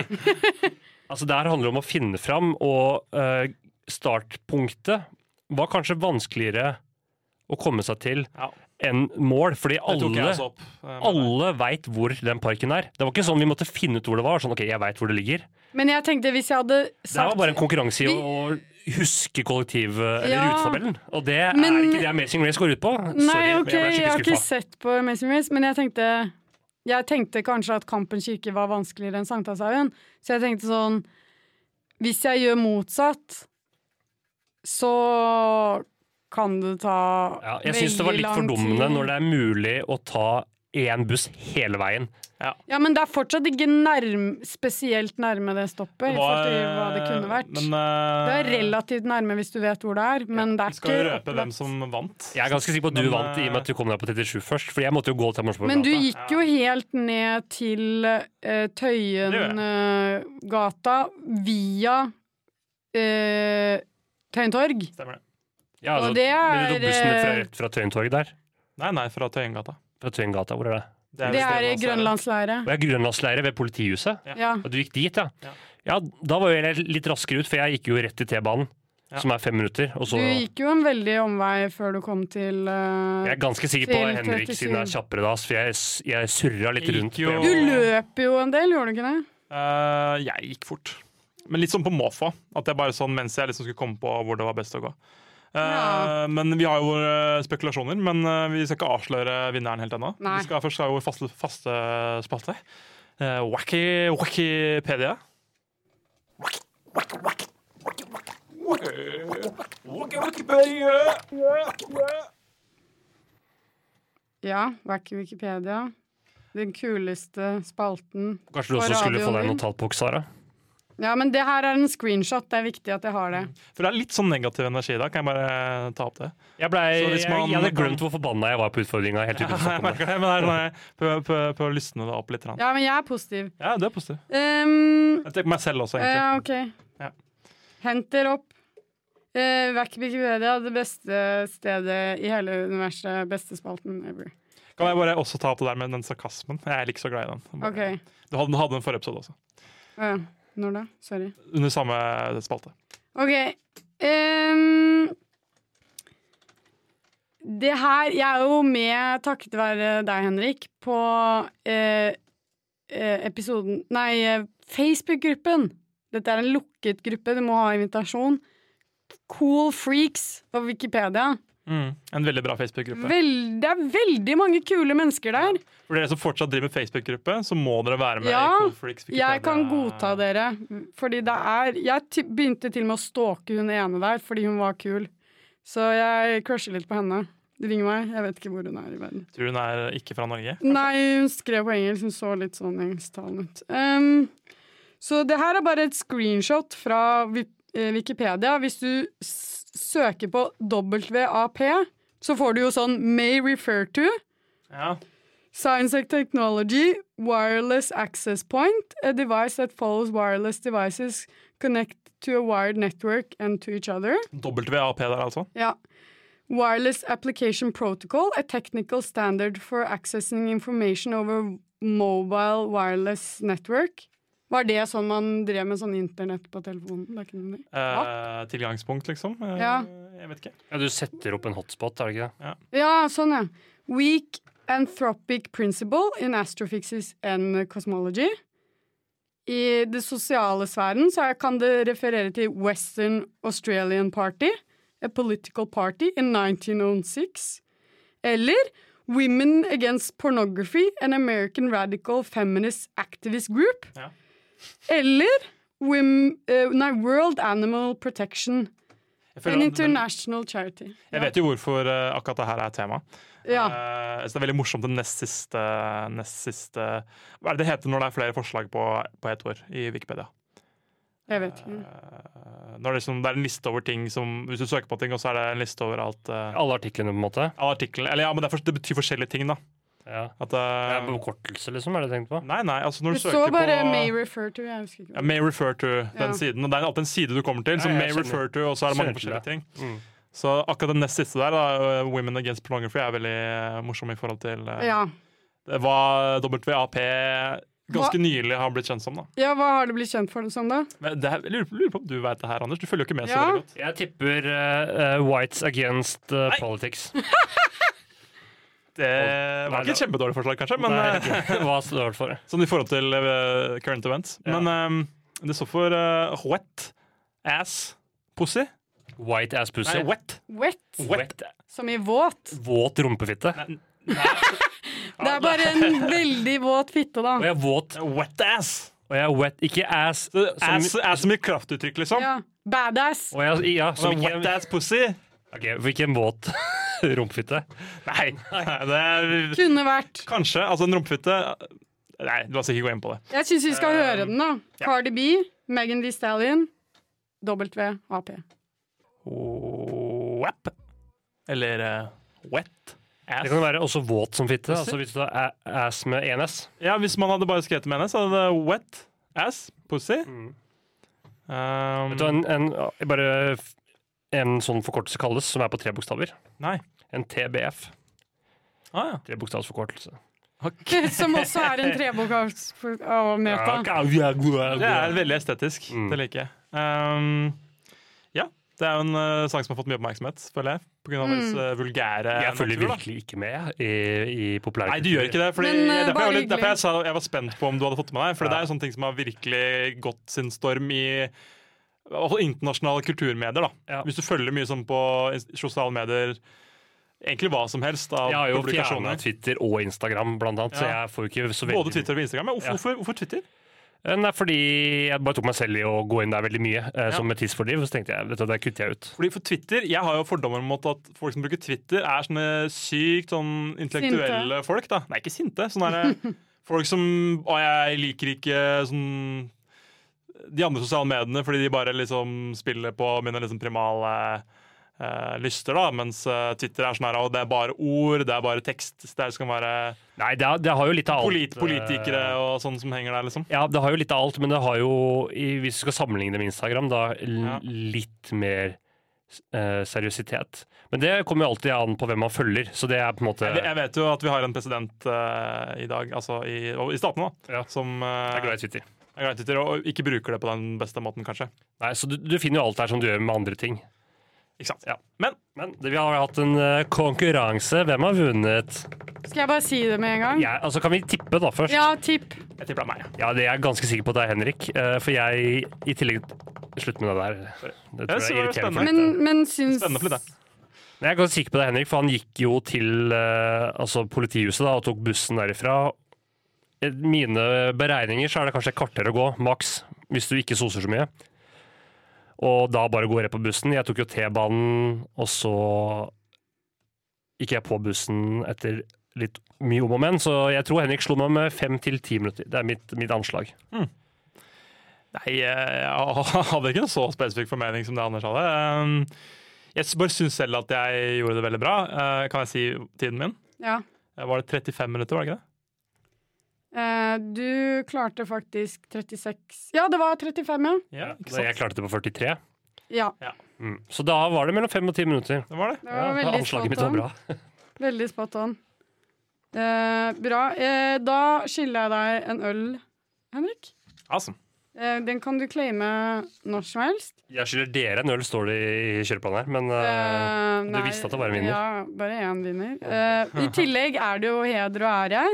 Speaker 4: altså, det her handler om å finne fram, og eh, startpunktet var kanskje vanskeligere å komme seg til
Speaker 3: Ja.
Speaker 4: enn mål, fordi
Speaker 3: Det tok jeg
Speaker 4: alle,
Speaker 3: også opp. eh, med deg.
Speaker 4: alle veit hvor den parken er. Det var ikke sånn vi måtte finne ut hvor det var. Sånn, ok, jeg vet hvor det ligger.
Speaker 5: Men jeg tenkte hvis jeg hadde
Speaker 4: Det var
Speaker 5: sagt
Speaker 4: bare en konkurranse
Speaker 5: Vi-
Speaker 4: i å huske kollektiv- eller
Speaker 5: Ja.
Speaker 4: rutetabellen. Og det er
Speaker 5: Men-
Speaker 4: ikke det Amazing Race går ut på.
Speaker 5: Nei, ok,
Speaker 4: ble
Speaker 5: jeg har
Speaker 4: skikkelig
Speaker 5: ikke
Speaker 4: skuffa.
Speaker 5: sett på Amazing Race, men jeg tenkte Jeg tenkte kanskje at Kampen kirke var vanskeligere enn Sankthanshaugen, så jeg tenkte sånn Hvis jeg gjør motsatt, så kan det ta
Speaker 4: Ja, jeg syns det var
Speaker 5: veldig
Speaker 4: litt
Speaker 5: lang
Speaker 4: fordummende
Speaker 5: tid.
Speaker 4: når det er mulig å ta én buss hele veien.
Speaker 5: Ja, men det er fortsatt ikke nærm, spesielt nærme det stoppet, i forhold til hva det kunne vært.
Speaker 3: Men, eh,
Speaker 5: det er relativt nærme hvis du vet hvor det er, men det er
Speaker 3: Skal vi
Speaker 5: ikke
Speaker 3: røpe hvem
Speaker 5: opplagt.
Speaker 3: som vant?
Speaker 4: Jeg er ganske sikker på at du
Speaker 3: Men,
Speaker 4: vant i og med at du kom deg på 37 først, for jeg måtte jo gå til Amorsborg
Speaker 5: Men du
Speaker 4: gata.
Speaker 5: gikk jo helt ned til eh, Tøyengata via eh, Tøyen torg.
Speaker 3: Stemmer det.
Speaker 4: Ja,
Speaker 5: og
Speaker 4: altså,
Speaker 5: det
Speaker 4: men du tok bussen
Speaker 5: er- eh,
Speaker 4: fra, rett fra Tøyentorget der.
Speaker 3: Nei, nei, fra Tøyengata.
Speaker 4: Fra Tøyengata, hvor er det?
Speaker 5: Det er i
Speaker 3: Grønland
Speaker 5: Grønlandsleiret.
Speaker 4: Og jeg er grønlandsleire ved politihuset.
Speaker 3: Ja.
Speaker 5: Ja.
Speaker 4: Og du gikk dit, ja.
Speaker 3: Ja.
Speaker 4: Ja, da var jo jeg litt raskere ut, for jeg gikk jo rett til T-banen,
Speaker 3: Ja.
Speaker 4: som er fem minutter. Og
Speaker 5: Du
Speaker 4: så
Speaker 5: gikk jo en veldig omvei før du kom til eh,
Speaker 4: Jeg er ganske sikker på
Speaker 5: Til
Speaker 4: Henrik siden
Speaker 5: 37.
Speaker 4: jeg er kjappere da, for jeg, jeg surra litt
Speaker 3: Jeg gikk
Speaker 4: rundt.
Speaker 3: jo-
Speaker 4: på-
Speaker 5: Du løp jo en del, gjorde du ikke det?
Speaker 3: Eh, jeg gikk fort. Men litt sånn på måfå. At jeg bare sånn mens jeg liksom skulle komme på hvor det var best å gå. Eh,
Speaker 5: Ja.
Speaker 3: Men vi har jo våre spekulasjoner, men eh, vi skal ikke avsløre vinneren helt ennå.
Speaker 5: Nei.
Speaker 3: Vi skal først ha vår faste, faste spalte. Eh, wacky Wackypedia.
Speaker 5: Ja, Wacky Wikipedia. Den kuleste spalten.
Speaker 4: Kanskje du
Speaker 5: på
Speaker 4: også skulle få
Speaker 5: radioen
Speaker 4: deg en
Speaker 5: din.
Speaker 4: notatboks, Sara?
Speaker 5: Ja, men det her er en screenshot. Det er viktig at jeg har det.
Speaker 3: For det er litt sånn negativ energi i dag. Kan jeg bare ta opp det?
Speaker 4: Jeg, ble,
Speaker 3: Så
Speaker 4: jeg,
Speaker 3: hvis man-
Speaker 4: jeg hadde glemt hvor forbanna jeg var på utfordringa. Helt uten å
Speaker 3: Jeg
Speaker 4: snakke om det.
Speaker 3: merker det, men det er sånn jeg prøver- prøver prøver å lysne det opp litt. grann.
Speaker 5: Ja, men jeg er positiv.
Speaker 3: Ja, det er positivt.
Speaker 5: Um,
Speaker 3: Jeg tenker meg selv også, egentlig.
Speaker 5: Ja, ok.
Speaker 3: Ja.
Speaker 5: Henter opp. Uh, Wikipedia, det beste stedet i hele universet. Beste spalten ever.
Speaker 3: Kan jeg bare også ta opp det der med den sarkasmen? Jeg er ikke så glad i den.
Speaker 5: Ok.
Speaker 3: Du hadde, hadde den forrige episode også.
Speaker 5: Uh, når da? Sorry.
Speaker 3: Under samme spalte.
Speaker 5: Ok. ehm, det her Jeg er jo med, takket være deg, Henrik, på eh, eh, episoden Nei, eh, Facebook-gruppen. Dette er en lukket gruppe, du må ha invitasjon. Cool Freaks på Wikipedia.
Speaker 3: Mm. En veldig bra Facebook-gruppe.
Speaker 5: Vel, det er veldig mange kule mennesker der.
Speaker 3: For dere som fortsatt driver med Facebook-gruppe, så må dere være med
Speaker 5: Ja,
Speaker 3: i Cool Freaks.
Speaker 5: Jeg kan godta dere, fordi det er Jeg ty- begynte til og med å stalke hun ene der fordi hun var kul. Så jeg crusher litt på henne. Ring meg, jeg vet ikke hvor hun er i verden.
Speaker 3: Tror hun er ikke fra Norge.
Speaker 5: Nei, hun skrev på engelsk, hun så litt sånn engelsktalende ut. Ehm, så det her er bare et screenshot fra Vi- eh, Wikipedia. Hvis du s søker på WAP, så får du jo sånn May refer to.
Speaker 3: Ja.
Speaker 5: Science and technology, wireless access point, a device that follows wireless devices connect to a wired network and to each other.
Speaker 3: WAP der, altså.
Speaker 5: Ja. Wireless application protocol, a technical standard for accessing information over mobile wireless network. Var det sånn man drev med sånn internett på telefonen? Det er ikke noe nytt.
Speaker 3: Eh, tilgangspunkt, liksom. Eh,
Speaker 5: Ja.
Speaker 3: Jeg vet ikke.
Speaker 4: Ja, du setter opp en hotspot, er det ikke det?
Speaker 5: Ja, sånn, ja. Weak anthropic principle in astrophysics and cosmology. I det sosiale sfæren så er- kan det referere til Western Australian Party, a political party in 1906, eller Women Against Pornography, an American radical feminist activist group,
Speaker 3: Ja.
Speaker 5: eller Wim, eh, nei, World Animal Protection,
Speaker 3: Jeg, føler
Speaker 5: an
Speaker 3: at den,
Speaker 5: international charity.
Speaker 3: jeg vet jo hvorfor eh, akkurat det her er tema.
Speaker 5: Ja.
Speaker 3: Eh, så det er veldig morsomt det nest siste, nest siste Hva er det det heter når det er flere forslag på, på ett år i Wikipedia?
Speaker 5: Jeg vet ikke.
Speaker 3: Eh, Når det, er liksom, det er en liste over ting som Hvis du søker på ting, og så er det en liste over alt eh,
Speaker 4: Alle artiklene, på en måte?
Speaker 3: Alle artiklene Eller ja, men det, er for, det betyr forskjellige ting, da.
Speaker 4: Ja.
Speaker 3: At, eh,
Speaker 4: Det er Bekortelse, liksom, er det tenkt på?
Speaker 3: nei, nei, altså når
Speaker 5: Det
Speaker 3: du
Speaker 5: står
Speaker 3: søker på
Speaker 5: bare 'may refer to'. Jeg husker ikke.
Speaker 3: ja, May refer to, den siden. Og det er alltid en side du kommer til, så
Speaker 4: Ja, ja,
Speaker 3: may
Speaker 4: jeg skjønner.
Speaker 3: refer to, og så er det mange
Speaker 4: Skjønner
Speaker 3: forskjellige ting.
Speaker 4: Mm.
Speaker 3: Så akkurat den nest siste der, da, eh, Women Against Pornography, er veldig eh, morsom i forhold til eh,
Speaker 5: Ja.
Speaker 3: det- hva WAP ganske nylig har blitt kjent som. da.
Speaker 5: ja, hva har det blitt kjent for som, da?
Speaker 3: Men det, er- jeg lurer, lurer på om du veit det her, Anders? Du følger jo ikke med så
Speaker 5: Ja.
Speaker 3: veldig godt.
Speaker 4: Jeg tipper eh, eh, Whites Against eh, Politics.
Speaker 3: Det var ikke et kjempedårlig forslag, kanskje, men eh,
Speaker 4: Nei, ikke. Hva står det for?
Speaker 3: sånn i forhold til eh, current events.
Speaker 4: Ja.
Speaker 3: Men eh, det står for eh, wet ass pussy.
Speaker 4: White ass pussy.
Speaker 3: Nei, wet.
Speaker 5: Wet,
Speaker 4: Wet.
Speaker 5: som i våt.
Speaker 4: Våt rumpefitte.
Speaker 5: Det er bare en veldig våt fitte,
Speaker 4: Og
Speaker 5: da.
Speaker 4: jeg er våt.
Speaker 3: Wet ass!
Speaker 4: Og jeg er wet. Ikke ass.
Speaker 3: Så
Speaker 4: som-
Speaker 3: ass, ass som i kraftuttrykk, liksom.
Speaker 5: Ja. Badass.
Speaker 4: Og jeg, ja, som
Speaker 3: Men wet
Speaker 4: ikke,
Speaker 3: ass pussy!
Speaker 4: Ok, for ikke en våt rumpefitte.
Speaker 3: Nei, nei, det er
Speaker 5: Kunne vært.
Speaker 3: Kanskje. Altså, en rumpefitte Nei, la oss ikke gå inn på det.
Speaker 5: Jeg syns vi
Speaker 3: Eh,
Speaker 5: skal høre den, da. Cardi B, Megan Thee Stallion, WAP.
Speaker 3: Wap. Eller eh, wet
Speaker 4: Det kan
Speaker 3: ass.
Speaker 4: være også våt som fitte. Altså hvis du har a- ass med én s.
Speaker 3: Ja, Hvis man hadde bare skrevet det med henne, så hadde det wet ass pussy. Um,
Speaker 4: Mm. Vet du hva en, en, ja, bare f- en sånn forkortelse kalles, som er på tre bokstaver?
Speaker 3: Nei.
Speaker 4: En TBF.
Speaker 3: Ah, ja.
Speaker 4: Trebokstavsforkortelse.
Speaker 5: Som også er en trebokavmøte.
Speaker 3: Det er
Speaker 4: Ja,
Speaker 3: veldig estetisk.
Speaker 4: Mm.
Speaker 3: Det liker jeg. Um, ja. Det er jo en eh, sang som har fått mye oppmerksomhet, føler jeg. På grunn av vår eh, vulgære
Speaker 4: jeg følger
Speaker 3: natur, da.
Speaker 4: virkelig ikke med jeg, i, i populærkultur.
Speaker 3: Nei, du gjør ikke det. Fordi
Speaker 5: Men, eh,
Speaker 3: derfor,
Speaker 5: bare
Speaker 3: jeg var litt, derfor
Speaker 5: hyggelig.
Speaker 3: jeg sa jeg var spent på om du hadde fått det med deg. For det er jo sånne ting som har virkelig gått sin storm i og internasjonale kulturmedier. da.
Speaker 4: Ja.
Speaker 3: Hvis du følger mye sånn på ins- sosiale medier, egentlig hva som helst av
Speaker 4: Jeg har jo fjerna
Speaker 3: publikasjoner.
Speaker 4: Twitter og Instagram, blant annet, så
Speaker 3: Ja.
Speaker 4: jeg får jo ikke så veldig
Speaker 3: Både Twitter og Instagram. Men hvorfor,
Speaker 4: Ja.
Speaker 3: hvorfor, hvorfor Twitter?
Speaker 4: Nei, fordi jeg bare tok meg selv i å gå inn der veldig mye, eh, som med tidsfordriv. Så tenkte jeg vet du, det kutter jeg ut.
Speaker 3: Fordi for Twitter, Jeg har jo fordommer mot at folk som bruker Twitter, er sånne sykt sånn intellektuelle folk. da. Nei, ikke sinte. Sånne der, folk som Å, jeg liker ikke sånn de andre sosiale mediene fordi de bare liksom spiller på mine liksom primale eh, lyster, da. Mens eh, Twitter er sånn her, og det er bare ord, det er bare tekst. Det er- skal være
Speaker 4: Nei, det, har- det har jo litt av alt.
Speaker 3: polit politikere
Speaker 4: eh,
Speaker 3: og sånn som henger der, liksom.
Speaker 4: Ja, det har jo litt av alt, men det har jo, i- hvis du skal sammenligne det med Instagram, da l-
Speaker 3: Ja.
Speaker 4: litt mer eh, seriøsitet. Men det kommer jo alltid an på hvem man følger, så det er på en måte
Speaker 3: Jeg jeg vet jo at vi har en president eh, i dag, altså i, og i statene, da,
Speaker 4: Ja.
Speaker 3: som eh,
Speaker 4: Jeg er glad i Twitter.
Speaker 3: Jeg er glad i Twitter, og ikke bruker det på den beste måten, kanskje.
Speaker 4: Nei, så du, du finner jo alt der som du gjør med andre ting.
Speaker 3: Ikke sant?
Speaker 4: Ja.
Speaker 3: Men
Speaker 4: Men det- vi har jo hatt en eh, konkurranse. Hvem har vunnet?
Speaker 5: Skal jeg bare si det med en gang?
Speaker 4: Jeg, altså, kan vi tippe da først?
Speaker 5: Ja, tipp.
Speaker 3: jeg tipper det er meg.
Speaker 4: Ja, det er jeg ganske sikker på at det er Henrik. eh, For jeg, i tillegg Slutt med det der.
Speaker 3: Jeg synes det
Speaker 4: Det tror jeg
Speaker 3: var
Speaker 4: er irriterende.
Speaker 3: spennende.
Speaker 4: for
Speaker 5: Men,
Speaker 4: lytteren.
Speaker 5: men syns
Speaker 3: Spennende for litt, det.
Speaker 4: Men Jeg er ganske sikker på det, Henrik, for han gikk jo til eh, altså politihuset da, og tok bussen derifra. Eh, Mine beregninger så er det kanskje et kvarter å gå, maks, hvis du ikke soser så mye. Og da bare gå rett på bussen. Jeg tok jo T-banen, og så gikk jeg på bussen etter litt mye om og men, så jeg tror Henrik slo meg med fem til ti minutter. Det er mitt, mitt anslag.
Speaker 3: Nei, eh, jeg hadde ikke en så spesifikk formening som det Anders hadde. Um, Jeg bare syns selv at jeg gjorde det veldig bra. Uh, Kan jeg si tiden min?
Speaker 5: Ja.
Speaker 3: Uh, Var det 35 minutter, var det ikke det?
Speaker 5: Eh, Du klarte faktisk 36 Ja, det var 35, ja.
Speaker 3: Ja, ikke
Speaker 4: Så jeg
Speaker 3: sant?
Speaker 4: klarte det på 43.
Speaker 5: Ja,
Speaker 4: Mm. Så da var det mellom fem og ti minutter.
Speaker 3: Det var det.
Speaker 5: det var veldig
Speaker 4: anslaget mitt
Speaker 5: spot
Speaker 4: var
Speaker 5: on.
Speaker 4: bra.
Speaker 5: Veldig spot on. Eh, bra. Eh, da skylder jeg deg en øl, Henrik.
Speaker 3: Awesome.
Speaker 5: Eh, den kan du claime når som helst.
Speaker 4: Jeg skylder dere en øl, står det i kjøreplanen her, men eh,
Speaker 5: Eh,
Speaker 4: du
Speaker 5: nei,
Speaker 4: visste at det var en vinner.
Speaker 5: Ja, bare én vinner. Eh, I tillegg er det jo heder og ære.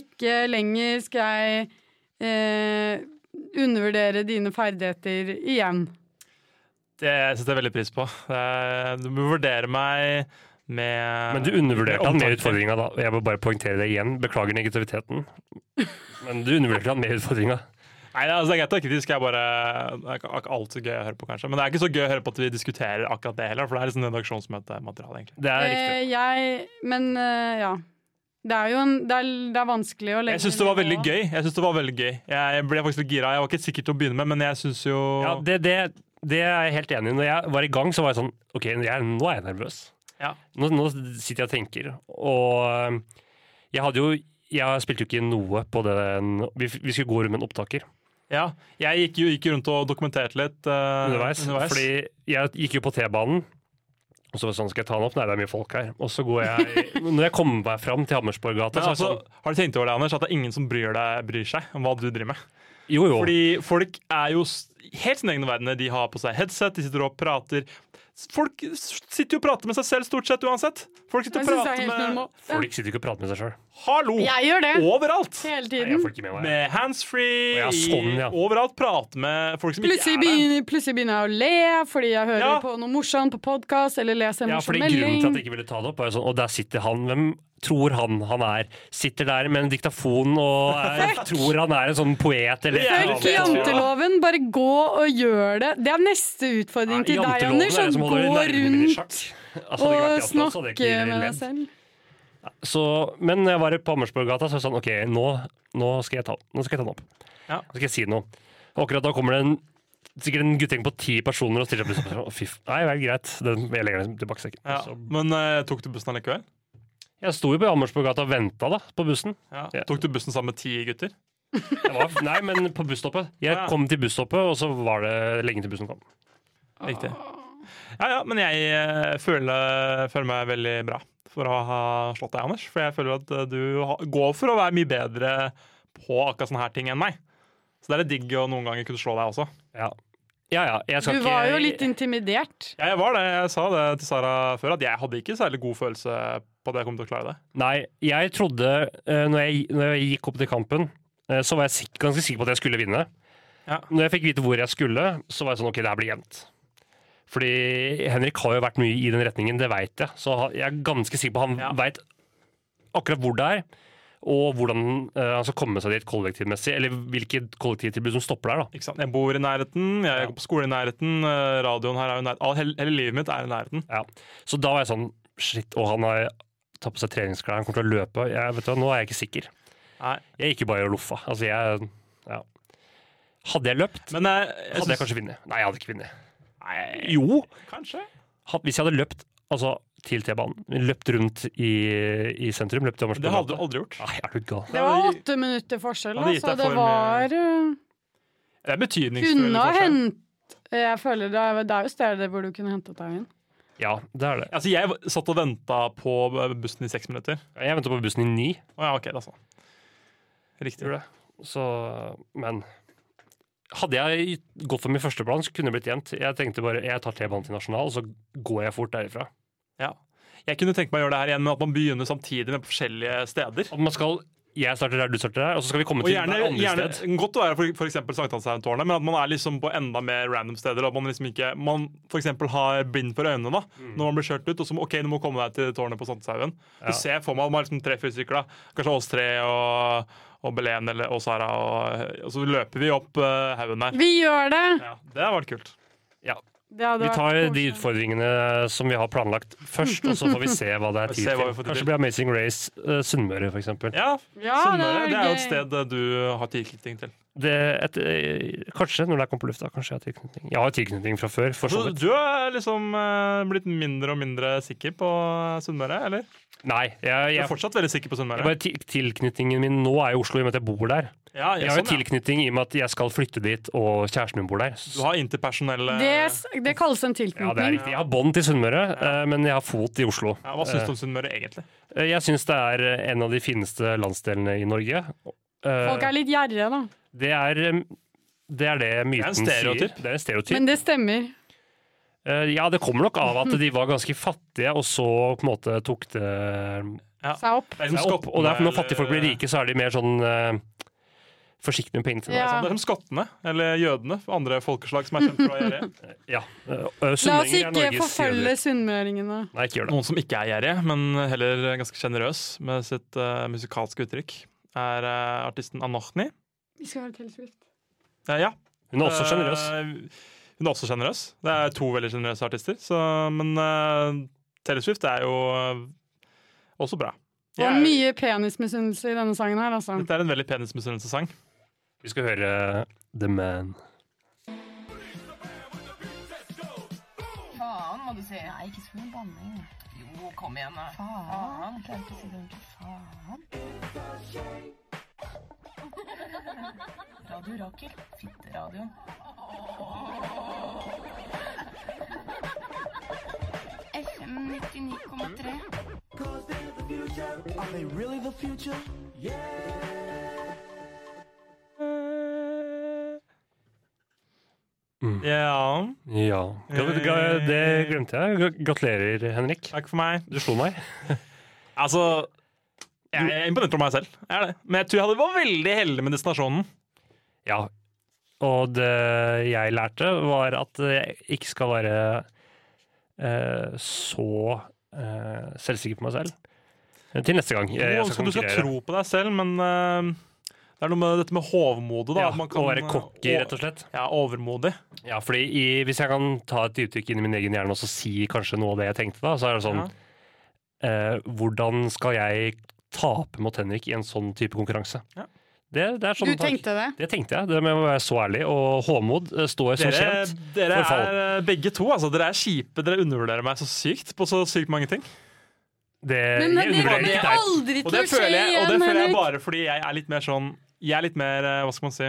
Speaker 5: Ikke lenger skal jeg eh, undervurdere dine ferdigheter igjen.
Speaker 3: Det setter jeg veldig pris på. Uh, Du må vurdere meg med
Speaker 4: eh, Men du undervurderte han med
Speaker 3: omtanke.
Speaker 4: utfordringa, da. Jeg vil bare poengtere det igjen. Beklager negativiteten. Men du undervurderte han med utfordringa.
Speaker 3: Nei, altså, Det er greit å være kritisk, jeg bare, det er ikke alt så gøy å høre på, kanskje. Men det er ikke så gøy å høre på at vi diskuterer akkurat det heller, for det er liksom redaksjonsmøtemateriale, egentlig.
Speaker 4: Det er riktig.
Speaker 5: Eh, jeg Men eh, ja. Det er jo en Det er, det er vanskelig å legge
Speaker 3: Jeg syns det var veldig
Speaker 5: nivå.
Speaker 3: gøy. Jeg synes det var veldig gøy. Jeg ble faktisk litt gira. Jeg var ikke sikker til å begynne med, men jeg syns jo
Speaker 4: Ja, det, det, det er jeg helt enig i. Når jeg var i gang, så var jeg sånn OK, jeg, nå er jeg nervøs.
Speaker 3: Ja.
Speaker 4: Nå, nå sitter jeg og tenker. Og eh, jeg hadde jo Jeg spilte jo ikke noe på den Vi, vi skulle gå rundt med en opptaker
Speaker 3: Ja, Jeg gikk jo gikk rundt og dokumenterte litt eh,
Speaker 4: underveis. Fordi jeg gikk jo på T-banen. Og så var det sånn, skal jeg ta den opp? Nei, det er mye folk her. Og så går jeg, når jeg kommer meg fram til
Speaker 3: men
Speaker 4: Hammersborggata, så er det
Speaker 3: altså,
Speaker 4: sånn
Speaker 3: har du tenkt over det, Anders, at det er ingen som bryr, deg, bryr seg om hva du driver med?
Speaker 4: Jo, jo.
Speaker 3: Fordi folk er jo s- helt sin egen verden. De har på seg headset, de sitter og prater. Folk s- sitter jo og prater med seg selv stort sett uansett. Folk sitter
Speaker 5: Jeg
Speaker 3: og
Speaker 5: syns det er
Speaker 3: prater
Speaker 5: helt
Speaker 3: med
Speaker 5: normalt.
Speaker 4: Folk sitter ikke og prater med seg sjøl.
Speaker 3: Hallo!
Speaker 5: Jeg gjør det
Speaker 3: Overalt!
Speaker 5: hele
Speaker 4: Jeg
Speaker 5: tiden.
Speaker 4: får ikke med meg.
Speaker 3: Med handsfree,
Speaker 4: Å, ja, sånn, ja.
Speaker 3: i- overalt. Prate med folk som ikke er
Speaker 5: Plutselig
Speaker 3: der.
Speaker 5: begynner, plutselig begynner jeg å le fordi jeg hører
Speaker 3: Ja.
Speaker 5: på noe morsomt på podkast eller leser en
Speaker 4: Ja,
Speaker 5: morsom
Speaker 4: fordi Grunnen
Speaker 5: melding.
Speaker 4: til at jeg ikke ville ta det opp, var jo sånn Og der sitter han. Hvem tror han han er? Sitter der med en diktafon og er, tror han er en sånn poet eller
Speaker 3: Det er
Speaker 5: Fuck
Speaker 3: ikke
Speaker 5: janteloven, bare gå og gjør det. Det er neste utfordring til deg, Anders. Å gå rundt
Speaker 4: Altså,
Speaker 5: og snakke med deg selv.
Speaker 4: Så, men når jeg var på Ammersborggata, så var det sånn OK, nå, nå, skal, jeg ta, nå skal jeg ta den opp.
Speaker 3: Ja.
Speaker 4: Nå skal jeg si noe. Og akkurat da kommer det en Sikkert en guttegjeng på ti personer og stiller seg på bussen. Å, fy f- Nei vel, greit. Den, jeg legger den tilbake i sekken.
Speaker 3: Ja,
Speaker 4: Så-
Speaker 3: men eh, tok du bussen allikevel?
Speaker 4: Jeg sto jo på Ammersborggata og venta da, på bussen.
Speaker 3: Ja.
Speaker 4: Ja.
Speaker 3: Tok du bussen sammen med ti gutter?
Speaker 4: Jeg var, nei, men på busstoppet. Jeg
Speaker 3: Ja.
Speaker 4: kom til busstoppet, og så var det lenge til bussen kom.
Speaker 3: Riktig. Ja, ja, men jeg eh, føler, føler meg veldig bra for å ha slått deg, Anders. For jeg føler at eh, du ha- går for å være mye bedre på akkurat sånne her ting enn meg. Så det er litt digg å noen ganger kunne slå deg også.
Speaker 4: Ja, ja. ja jeg skal
Speaker 5: Du var
Speaker 4: ikke,
Speaker 5: jo litt intimidert.
Speaker 3: Ja, jeg var det. Jeg sa det til Sara før, at jeg hadde ikke særlig god følelse på at jeg kom til å klare det.
Speaker 4: Nei, jeg trodde eh, når, jeg, når jeg gikk opp til kampen, eh, så var jeg sik ganske sikker på at jeg skulle vinne.
Speaker 3: Ja.
Speaker 4: Når jeg fikk vite hvor jeg skulle, så var jeg sånn OK, det her blir jevnt. Fordi Henrik har jo vært mye i den retningen, det veit jeg. Så ha- jeg er ganske sikker på han
Speaker 3: Ja.
Speaker 4: vet veit akkurat hvor det er, og hvordan eh, han skal komme seg dit kollektivmessig. Eller hvilke kollektivtilbud som stopper der, da.
Speaker 3: Ikke sant? Jeg bor i nærheten, jeg går på skole i nærheten, eh, radioen her er jo i nærheten. Hele, hele livet mitt er i nærheten.
Speaker 4: Ja. Så da var jeg sånn Shit, og han har tatt på seg treningsklær, han kommer til å løpe. Jeg, vet du, hva, nå er jeg ikke sikker.
Speaker 3: Nei.
Speaker 4: Jeg gikk jo bare og loffa. Altså, jeg ja. Hadde jeg løpt,
Speaker 3: Men jeg, jeg,
Speaker 4: hadde jeg
Speaker 3: syns-
Speaker 4: kanskje vunnet. Nei, jeg hadde ikke vunnet. Jo,
Speaker 3: Kanskje?
Speaker 4: had- hvis jeg hadde løpt altså, til T-banen, løpt rundt i, i sentrum løpt til
Speaker 3: Det hadde du aldri gjort.
Speaker 4: Nei, er du gal?
Speaker 5: Det var åtte minutter forskjell,
Speaker 3: Ja, det gitt
Speaker 5: altså.
Speaker 3: deg
Speaker 5: Det
Speaker 3: for mye-
Speaker 4: eh,
Speaker 5: var uh,
Speaker 3: Det er betydningsfull
Speaker 5: Kunne ha
Speaker 3: forskjell.
Speaker 5: hendt Jeg føler det er, det er jo steder hvor du kunne hentet deg inn.
Speaker 4: Ja, det er det.
Speaker 3: Altså, jeg v- satt og venta på b- bussen i seks minutter.
Speaker 4: Jeg venta på bussen i ni,
Speaker 3: Å ja, ok, det er sånn. Riktig.
Speaker 4: Gjorde det. så Men hadde jeg gått for min første plan, så kunne det blitt jevnt. Jeg tenkte bare jeg tar T-banen til Nasjonal, og så går jeg fort derifra.
Speaker 3: Ja. Jeg kunne tenke meg å gjøre det her igjen, men at man begynner samtidig med forskjellige steder.
Speaker 4: At man skal Jeg starter der, du starter der, og så skal vi komme
Speaker 3: Og
Speaker 4: til
Speaker 3: gjerne,
Speaker 4: hver andre
Speaker 3: gjerne
Speaker 4: sted.
Speaker 3: Godt å være for, for eksempel Sankthanshaugen-tårnet, men at man er liksom på enda mer random steder. og At man liksom ikke Man for eksempel har blind for øynene da når man blir kjørt ut. Og så OK, du må komme deg til tårnet på Sankthanshaugen.
Speaker 4: Ja.
Speaker 3: Du ser for meg at man er liksom tre-fire stykker, da. Kanskje oss tre og, og Belen eller, og Sara. Og, og så løper vi opp eh, haugen der.
Speaker 5: Vi gjør det!
Speaker 3: Ja, det hadde vært kult.
Speaker 4: Ja.
Speaker 5: Det hadde
Speaker 4: Vi
Speaker 5: vært
Speaker 4: tar de
Speaker 5: koselig.
Speaker 4: utfordringene som vi har planlagt først, og så får vi se hva det er
Speaker 3: Vi
Speaker 4: tid
Speaker 3: ser hva
Speaker 4: til.
Speaker 3: vi får tid til.
Speaker 4: Kanskje det blir Amazing Race eh, Sunnmøre, for eksempel.
Speaker 3: Ja,
Speaker 5: Ja,
Speaker 3: Sunnmøre. Det er jo
Speaker 5: gøy.
Speaker 3: et sted eh, du har tilknytning til.
Speaker 4: Det, et, eh, kanskje når det kommer på lufta. Kanskje jeg har tilknytning. Jeg har tilknytning fra før, for
Speaker 3: Så
Speaker 4: så vidt.
Speaker 3: du er liksom eh, blitt mindre og mindre sikker på Sunnmøre, eller?
Speaker 4: Nei, jeg,
Speaker 3: Du er
Speaker 4: jeg,
Speaker 3: fortsatt veldig sikker på Sunnmøre?
Speaker 4: bare til- tilknytningen min nå er i Oslo, i og med at jeg bor der.
Speaker 3: Ja,
Speaker 4: Jeg
Speaker 3: ja,
Speaker 4: har jo
Speaker 3: sånn, ja.
Speaker 4: tilknytning i og med at jeg skal flytte dit, og kjæresten min bor der.
Speaker 3: Du har interpersonelle
Speaker 5: det, s- det kalles en
Speaker 4: Ja, det er
Speaker 5: tilknytning.
Speaker 4: riktig. Jeg har bånd til Sunnmøre, eh, men jeg har fot i Oslo.
Speaker 3: ja, Hva syns du om Sunnmøre, egentlig?
Speaker 4: Eh, Jeg syns det er eh, en av de fineste landsdelene i Norge. Eh,
Speaker 5: Folk er litt gjerrige, da.
Speaker 4: Det er eh, det, er det myten
Speaker 3: stereotyp.
Speaker 4: sier. Det er en stereotyp.
Speaker 5: Men det stemmer.
Speaker 4: Eh, ja, det kommer nok av at de var ganske fattige, og så på en måte tok det
Speaker 5: Seg opp.
Speaker 3: Det
Speaker 4: seg opp. Og det er for når fattige folk blir rike, så er de mer sånn eh, forsiktige med pengene sine.
Speaker 5: Ja.
Speaker 3: Det er som skottene, eller jødene, andre folkeslag som er kjempebra gjerrige.
Speaker 4: Ja. Eh, eh,
Speaker 5: La oss
Speaker 4: sunnmøringer er
Speaker 5: ikke
Speaker 4: Norges
Speaker 5: forfølge
Speaker 4: jøder.
Speaker 5: sunnmøringene.
Speaker 4: Nei, ikke gjør det.
Speaker 3: Noen som ikke er gjerrige, men heller ganske sjenerøs med sitt eh, musikalske uttrykk, er eh, artisten Anochni.
Speaker 5: Vi skal høre Taylor Swift.
Speaker 3: Eh, ja,
Speaker 4: Hun er også sjenerøs.
Speaker 3: Eh, Hun er også sjenerøs. Det er to veldig sjenerøse artister. Så, men eh, Taylor Swift er jo eh, også bra.
Speaker 5: Det var
Speaker 3: Jeg-
Speaker 5: mye penismisunnelse i denne sangen her, altså.
Speaker 3: Dette er en veldig penismisunnelsessang.
Speaker 4: Vi skal høre eh, The Man.
Speaker 7: Faen, må du si. Nei, ikke så mye banning. Jo, kom igjen, da. Faen. Jeg klarer ikke å si det ordentlig. Faen. Radio Rakel. Fitteradioen. FM 99,3.
Speaker 3: Eh,
Speaker 4: Mm.
Speaker 3: Ja,
Speaker 4: Ja. Gra- gra- Det glemte jeg. Gra- Gratulerer, Henrik.
Speaker 3: takk for meg.
Speaker 4: Du slo meg.
Speaker 3: Altså, jeg er imponert over meg selv. Jeg er det. Men jeg tror jeg hadde vært veldig heldig med destinasjonen.
Speaker 4: Ja. Og det jeg lærte, var at jeg ikke skal være eh, så eh, selvsikker på meg selv. Til neste gang. Jeg, jeg
Speaker 3: Jo,
Speaker 4: skal
Speaker 3: så du skal
Speaker 4: konkurrere.
Speaker 3: tro på deg selv, men eh, det er noe med dette med hovmodet. da.
Speaker 4: Ja,
Speaker 3: at man
Speaker 4: å være
Speaker 3: eh,
Speaker 4: cocky,
Speaker 3: å-
Speaker 4: rett og slett.
Speaker 3: Ja, overmodig.
Speaker 4: Ja, fordi i, Hvis jeg kan ta et uttrykk inn i min egen hjerne og så si kanskje noe av det jeg tenkte, da, så er det sånn
Speaker 3: Ja.
Speaker 4: eh, Hvordan skal jeg tape mot Henrik i en sånn type konkurranse?
Speaker 3: Ja.
Speaker 4: Det, det er sånn
Speaker 5: Du tenkte det?
Speaker 4: Det tenkte jeg. Det med å være så ærlig og håmod eh, står som
Speaker 3: Dere,
Speaker 4: kjent.
Speaker 3: dere
Speaker 4: for fall.
Speaker 3: er eh, begge to. altså. Dere er kjipe. Dere undervurderer meg så sykt på så sykt mange ting.
Speaker 4: Det,
Speaker 5: Men
Speaker 4: jeg
Speaker 5: det
Speaker 4: undervurderer
Speaker 5: kommer
Speaker 4: ikke deg.
Speaker 5: aldri
Speaker 3: Og
Speaker 5: til
Speaker 3: det
Speaker 5: å skje
Speaker 3: føler jeg, og det
Speaker 5: igjen,
Speaker 3: føler jeg
Speaker 5: Henrik.
Speaker 3: bare fordi jeg er litt mer sånn Jeg er litt mer, eh, hva skal man si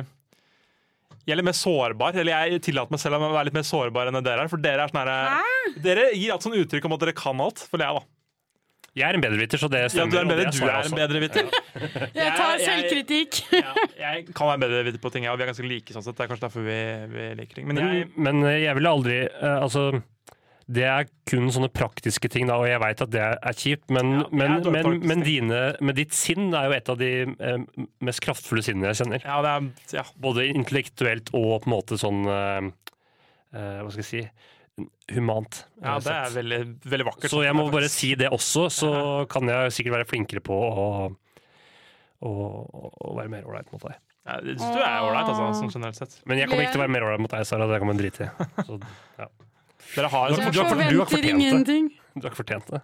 Speaker 3: Jeg er litt mer sårbar. Eller jeg tillater meg selv å være litt mer sårbar enn det dere er. For dere er sånn her Dere gir alt sånn uttrykk om at dere kan alt, føler jeg, da.
Speaker 4: Jeg er en bedreviter, så det
Speaker 3: Ja,
Speaker 4: stemmer.
Speaker 3: du er en
Speaker 4: og det
Speaker 3: bedre, du
Speaker 4: sa jeg
Speaker 3: er en
Speaker 4: også.
Speaker 3: bedre viter.
Speaker 5: Jeg tar
Speaker 3: Jeg- jeg-
Speaker 5: selvkritikk.
Speaker 3: Ja, jeg kan være bedre viter på ting, jeg, og vi er ganske like sånn sett. Det er kanskje derfor vi, vi liker ting. Men jeg
Speaker 4: Men, men jeg ville aldri eh, Altså, det er kun sånne praktiske ting, da, og jeg veit at det er kjipt, men,
Speaker 3: Ja, det er
Speaker 4: men,
Speaker 3: dårlig
Speaker 4: men,
Speaker 3: praktisk
Speaker 4: men
Speaker 3: ting.
Speaker 4: dine, men ditt sinn er jo et av de eh, mest kraftfulle sinnene jeg kjenner.
Speaker 3: Ja, det er ja.
Speaker 4: Både intellektuelt og på en måte sånn eh, eh, Hva skal jeg si humant.
Speaker 3: ja,
Speaker 4: eh,
Speaker 3: det er
Speaker 4: sett.
Speaker 3: veldig, veldig vakkert. sånn,
Speaker 4: Så jeg må bare
Speaker 3: Faktisk.
Speaker 4: si det også, så kan jeg sikkert være flinkere på å å- å være mer ålreit mot deg.
Speaker 3: ja, Jeg syns du er ålreit, altså, sånn generelt sett.
Speaker 4: Men jeg kommer ikke til å være mer ålreit mot deg, Sara. Det kan man drite i. Så, ja.
Speaker 3: Dere har
Speaker 4: Du
Speaker 3: en
Speaker 5: Jeg
Speaker 4: har
Speaker 3: sånn
Speaker 4: fort- du har fortjent
Speaker 5: forventer
Speaker 4: det.
Speaker 5: ingenting.
Speaker 4: Du har ikke fortjent det.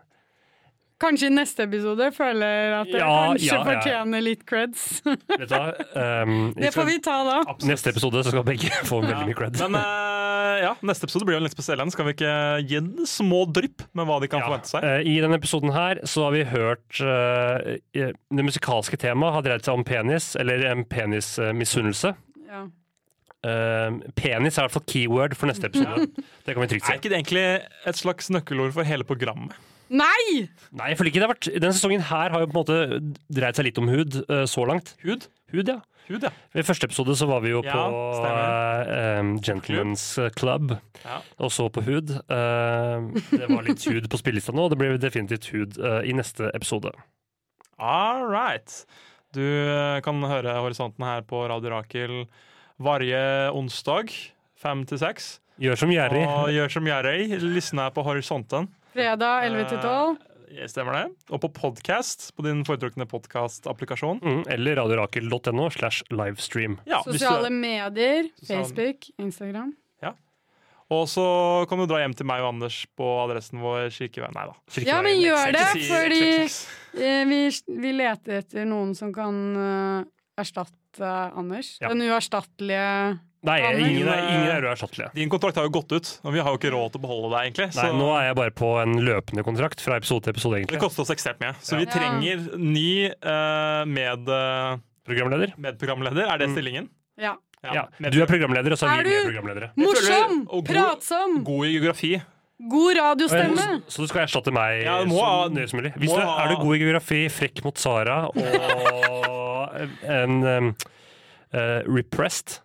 Speaker 5: Kanskje i neste episode føler at jeg
Speaker 4: Ja,
Speaker 5: kanskje
Speaker 4: ja, ja.
Speaker 5: fortjener litt creds.
Speaker 4: Vet du hva? Um,
Speaker 5: Det får vi ta da.
Speaker 4: skal, neste episode så skal begge få veldig mye cred.
Speaker 3: Men eh, ja, neste episode blir jo en litt spesiell en. Skal vi ikke gi en små drypp med hva de kan
Speaker 4: Ja.
Speaker 3: forvente seg?
Speaker 4: Eh, I denne episoden her så har vi hørt eh, eh, Det musikalske temaet har dreid seg om penis, eh, eller en penismisunnelse.
Speaker 5: Ja.
Speaker 4: penis er i hvert fall keyword for neste episode. Det kan vi trygt
Speaker 3: Er
Speaker 4: si.
Speaker 3: ikke det egentlig et slags nøkkelord for hele programmet?
Speaker 5: Nei!
Speaker 4: Nei, jeg føler ikke det har vært Denne sesongen her har jo på en måte dreid seg litt om hud eh, så langt.
Speaker 3: Hud?
Speaker 4: Hud, ja.
Speaker 3: Hud, ja.
Speaker 4: I første episode så var vi jo
Speaker 3: Ja,
Speaker 4: på eh, em, Gentlemen's Club,
Speaker 3: Ja.
Speaker 4: og så på hud. Eh, det var litt hud på spillelista nå, og det blir definitivt hud eh, i neste episode.
Speaker 3: All right. Du eh, kan høre Horisonten her på Radio Rakel varje onsdag fem til seks.
Speaker 4: Gjør som Jerry.
Speaker 3: Og gjør som Gjerøy, lysne på Horisonten.
Speaker 5: Fredag 11 til 12.
Speaker 3: Eh, Stemmer det. Og på podkast, på din foretrukne podkastapplikasjon.
Speaker 4: Mm, eller radiorakel.no slash livestream.
Speaker 3: Ja, hvis du er-
Speaker 5: Sosiale medier.
Speaker 3: Sosiale-
Speaker 5: Facebook, Instagram.
Speaker 3: Og så kan du dra hjem til meg og Anders på adressen vår kirkeveien. Nei da.
Speaker 5: Ja, men gjør det,
Speaker 3: Ikke si-
Speaker 5: fordi
Speaker 3: Seks, seks, seks.
Speaker 5: eh, vi, vi leter etter noen som kan eh, erstatte Anders.
Speaker 4: Ja.
Speaker 5: Den uerstattelige
Speaker 4: Nei,
Speaker 5: Ja, men-
Speaker 4: ingen er, ingen er uerstattelige.
Speaker 3: Din kontrakt har jo gått ut, og vi har jo ikke råd til å beholde deg, egentlig.
Speaker 4: Nei, nå er jeg bare på en løpende kontrakt fra episode til episode,
Speaker 3: Det
Speaker 4: egentlig.
Speaker 3: koster oss ekstremt mye. Så vi
Speaker 5: Ja.
Speaker 3: trenger ny eh, med, eh,
Speaker 4: Programleder?
Speaker 3: medprogramleder. Er det stillingen?
Speaker 5: Ja.
Speaker 4: Mm. Ja. Du er programleder, og så
Speaker 5: Er
Speaker 4: er vi
Speaker 5: du-
Speaker 4: med programledere.
Speaker 5: Morsom!
Speaker 3: og god-
Speaker 5: Pratsom!
Speaker 3: God i geografi. Eh,
Speaker 5: God radiostemme!
Speaker 4: Så, så du skal erstatte meg
Speaker 3: Ja, du må ha-
Speaker 4: så nøye som mulig? Hvis
Speaker 3: må
Speaker 4: du
Speaker 3: ha-
Speaker 4: er du god i geografi, frekk mot Sara og en em, eh, repressed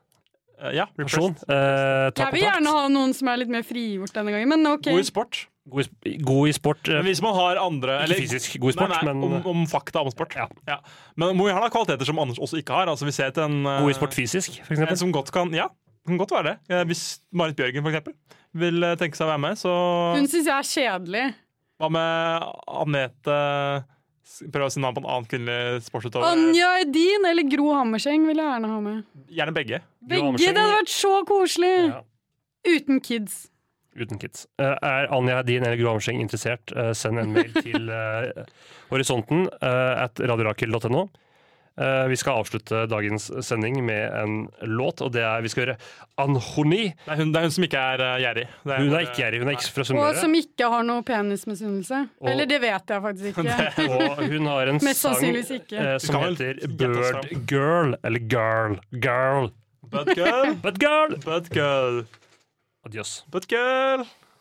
Speaker 3: Eh, ja,
Speaker 4: person,
Speaker 3: repressed.
Speaker 4: eh, ta
Speaker 5: Jeg vil
Speaker 4: kontakt.
Speaker 5: gjerne ha noen som er litt mer frigjort denne gangen, men OK.
Speaker 3: God i sport.
Speaker 4: God i, sp- god i sport, eh,
Speaker 3: Men hvis man har andre
Speaker 4: ikke fysisk god i sport,
Speaker 3: nei, nei,
Speaker 4: men eh,
Speaker 3: om, om fakta om sport.
Speaker 4: Ja.
Speaker 3: Ja. Men må vi ha da kvaliteter som Anders også ikke har. Altså, vi ser til en eh,
Speaker 4: god i sport fysisk, for
Speaker 3: En
Speaker 4: eksempel.
Speaker 3: som godt kan, ja, det kan godt være det. Eh, Hvis Marit Bjørgen for eksempel, vil eh, tenke seg å være med, så
Speaker 5: Hun syns jeg er kjedelig.
Speaker 3: hva med Anette s- Prøv å si navn på en annen kvinnelig sportsutøver.
Speaker 5: Anja Edin eller Gro Hammerseng vil jeg gjerne ha med.
Speaker 3: Gjerne begge.
Speaker 4: Gro
Speaker 5: Begge! Det
Speaker 4: Hammerseng-
Speaker 5: hadde vært så koselig!
Speaker 4: Ja.
Speaker 5: Uten kids.
Speaker 4: Uten kids. Eh, er Anja Hedin eller Gro Hammerseng interessert, eh, send en mail til eh, horisonten eh, at radiorakel.no. Eh, vi skal avslutte dagens sending med en låt, og det er vi skal gjøre Anhoni.
Speaker 3: Det er hun, det er hun som ikke er eh, gjerrig. Det
Speaker 4: Hun
Speaker 3: bare-
Speaker 4: er ikke gjerrig, hun er ikke fra
Speaker 5: Og
Speaker 4: Sunnmøre.
Speaker 5: som ikke har noe penismisunnelse.
Speaker 4: Og-
Speaker 5: Eller det vet jeg faktisk ikke.
Speaker 4: Og hun har en
Speaker 5: Mest
Speaker 4: sang
Speaker 5: sannsynligvis ikke.
Speaker 4: eh, som
Speaker 3: Du kan vel
Speaker 4: heter
Speaker 3: gjette oss
Speaker 4: Bird Girl, eller Girl, Girl,
Speaker 3: But girl,
Speaker 4: but girl.
Speaker 3: but girl,
Speaker 4: Adios.
Speaker 3: but girl.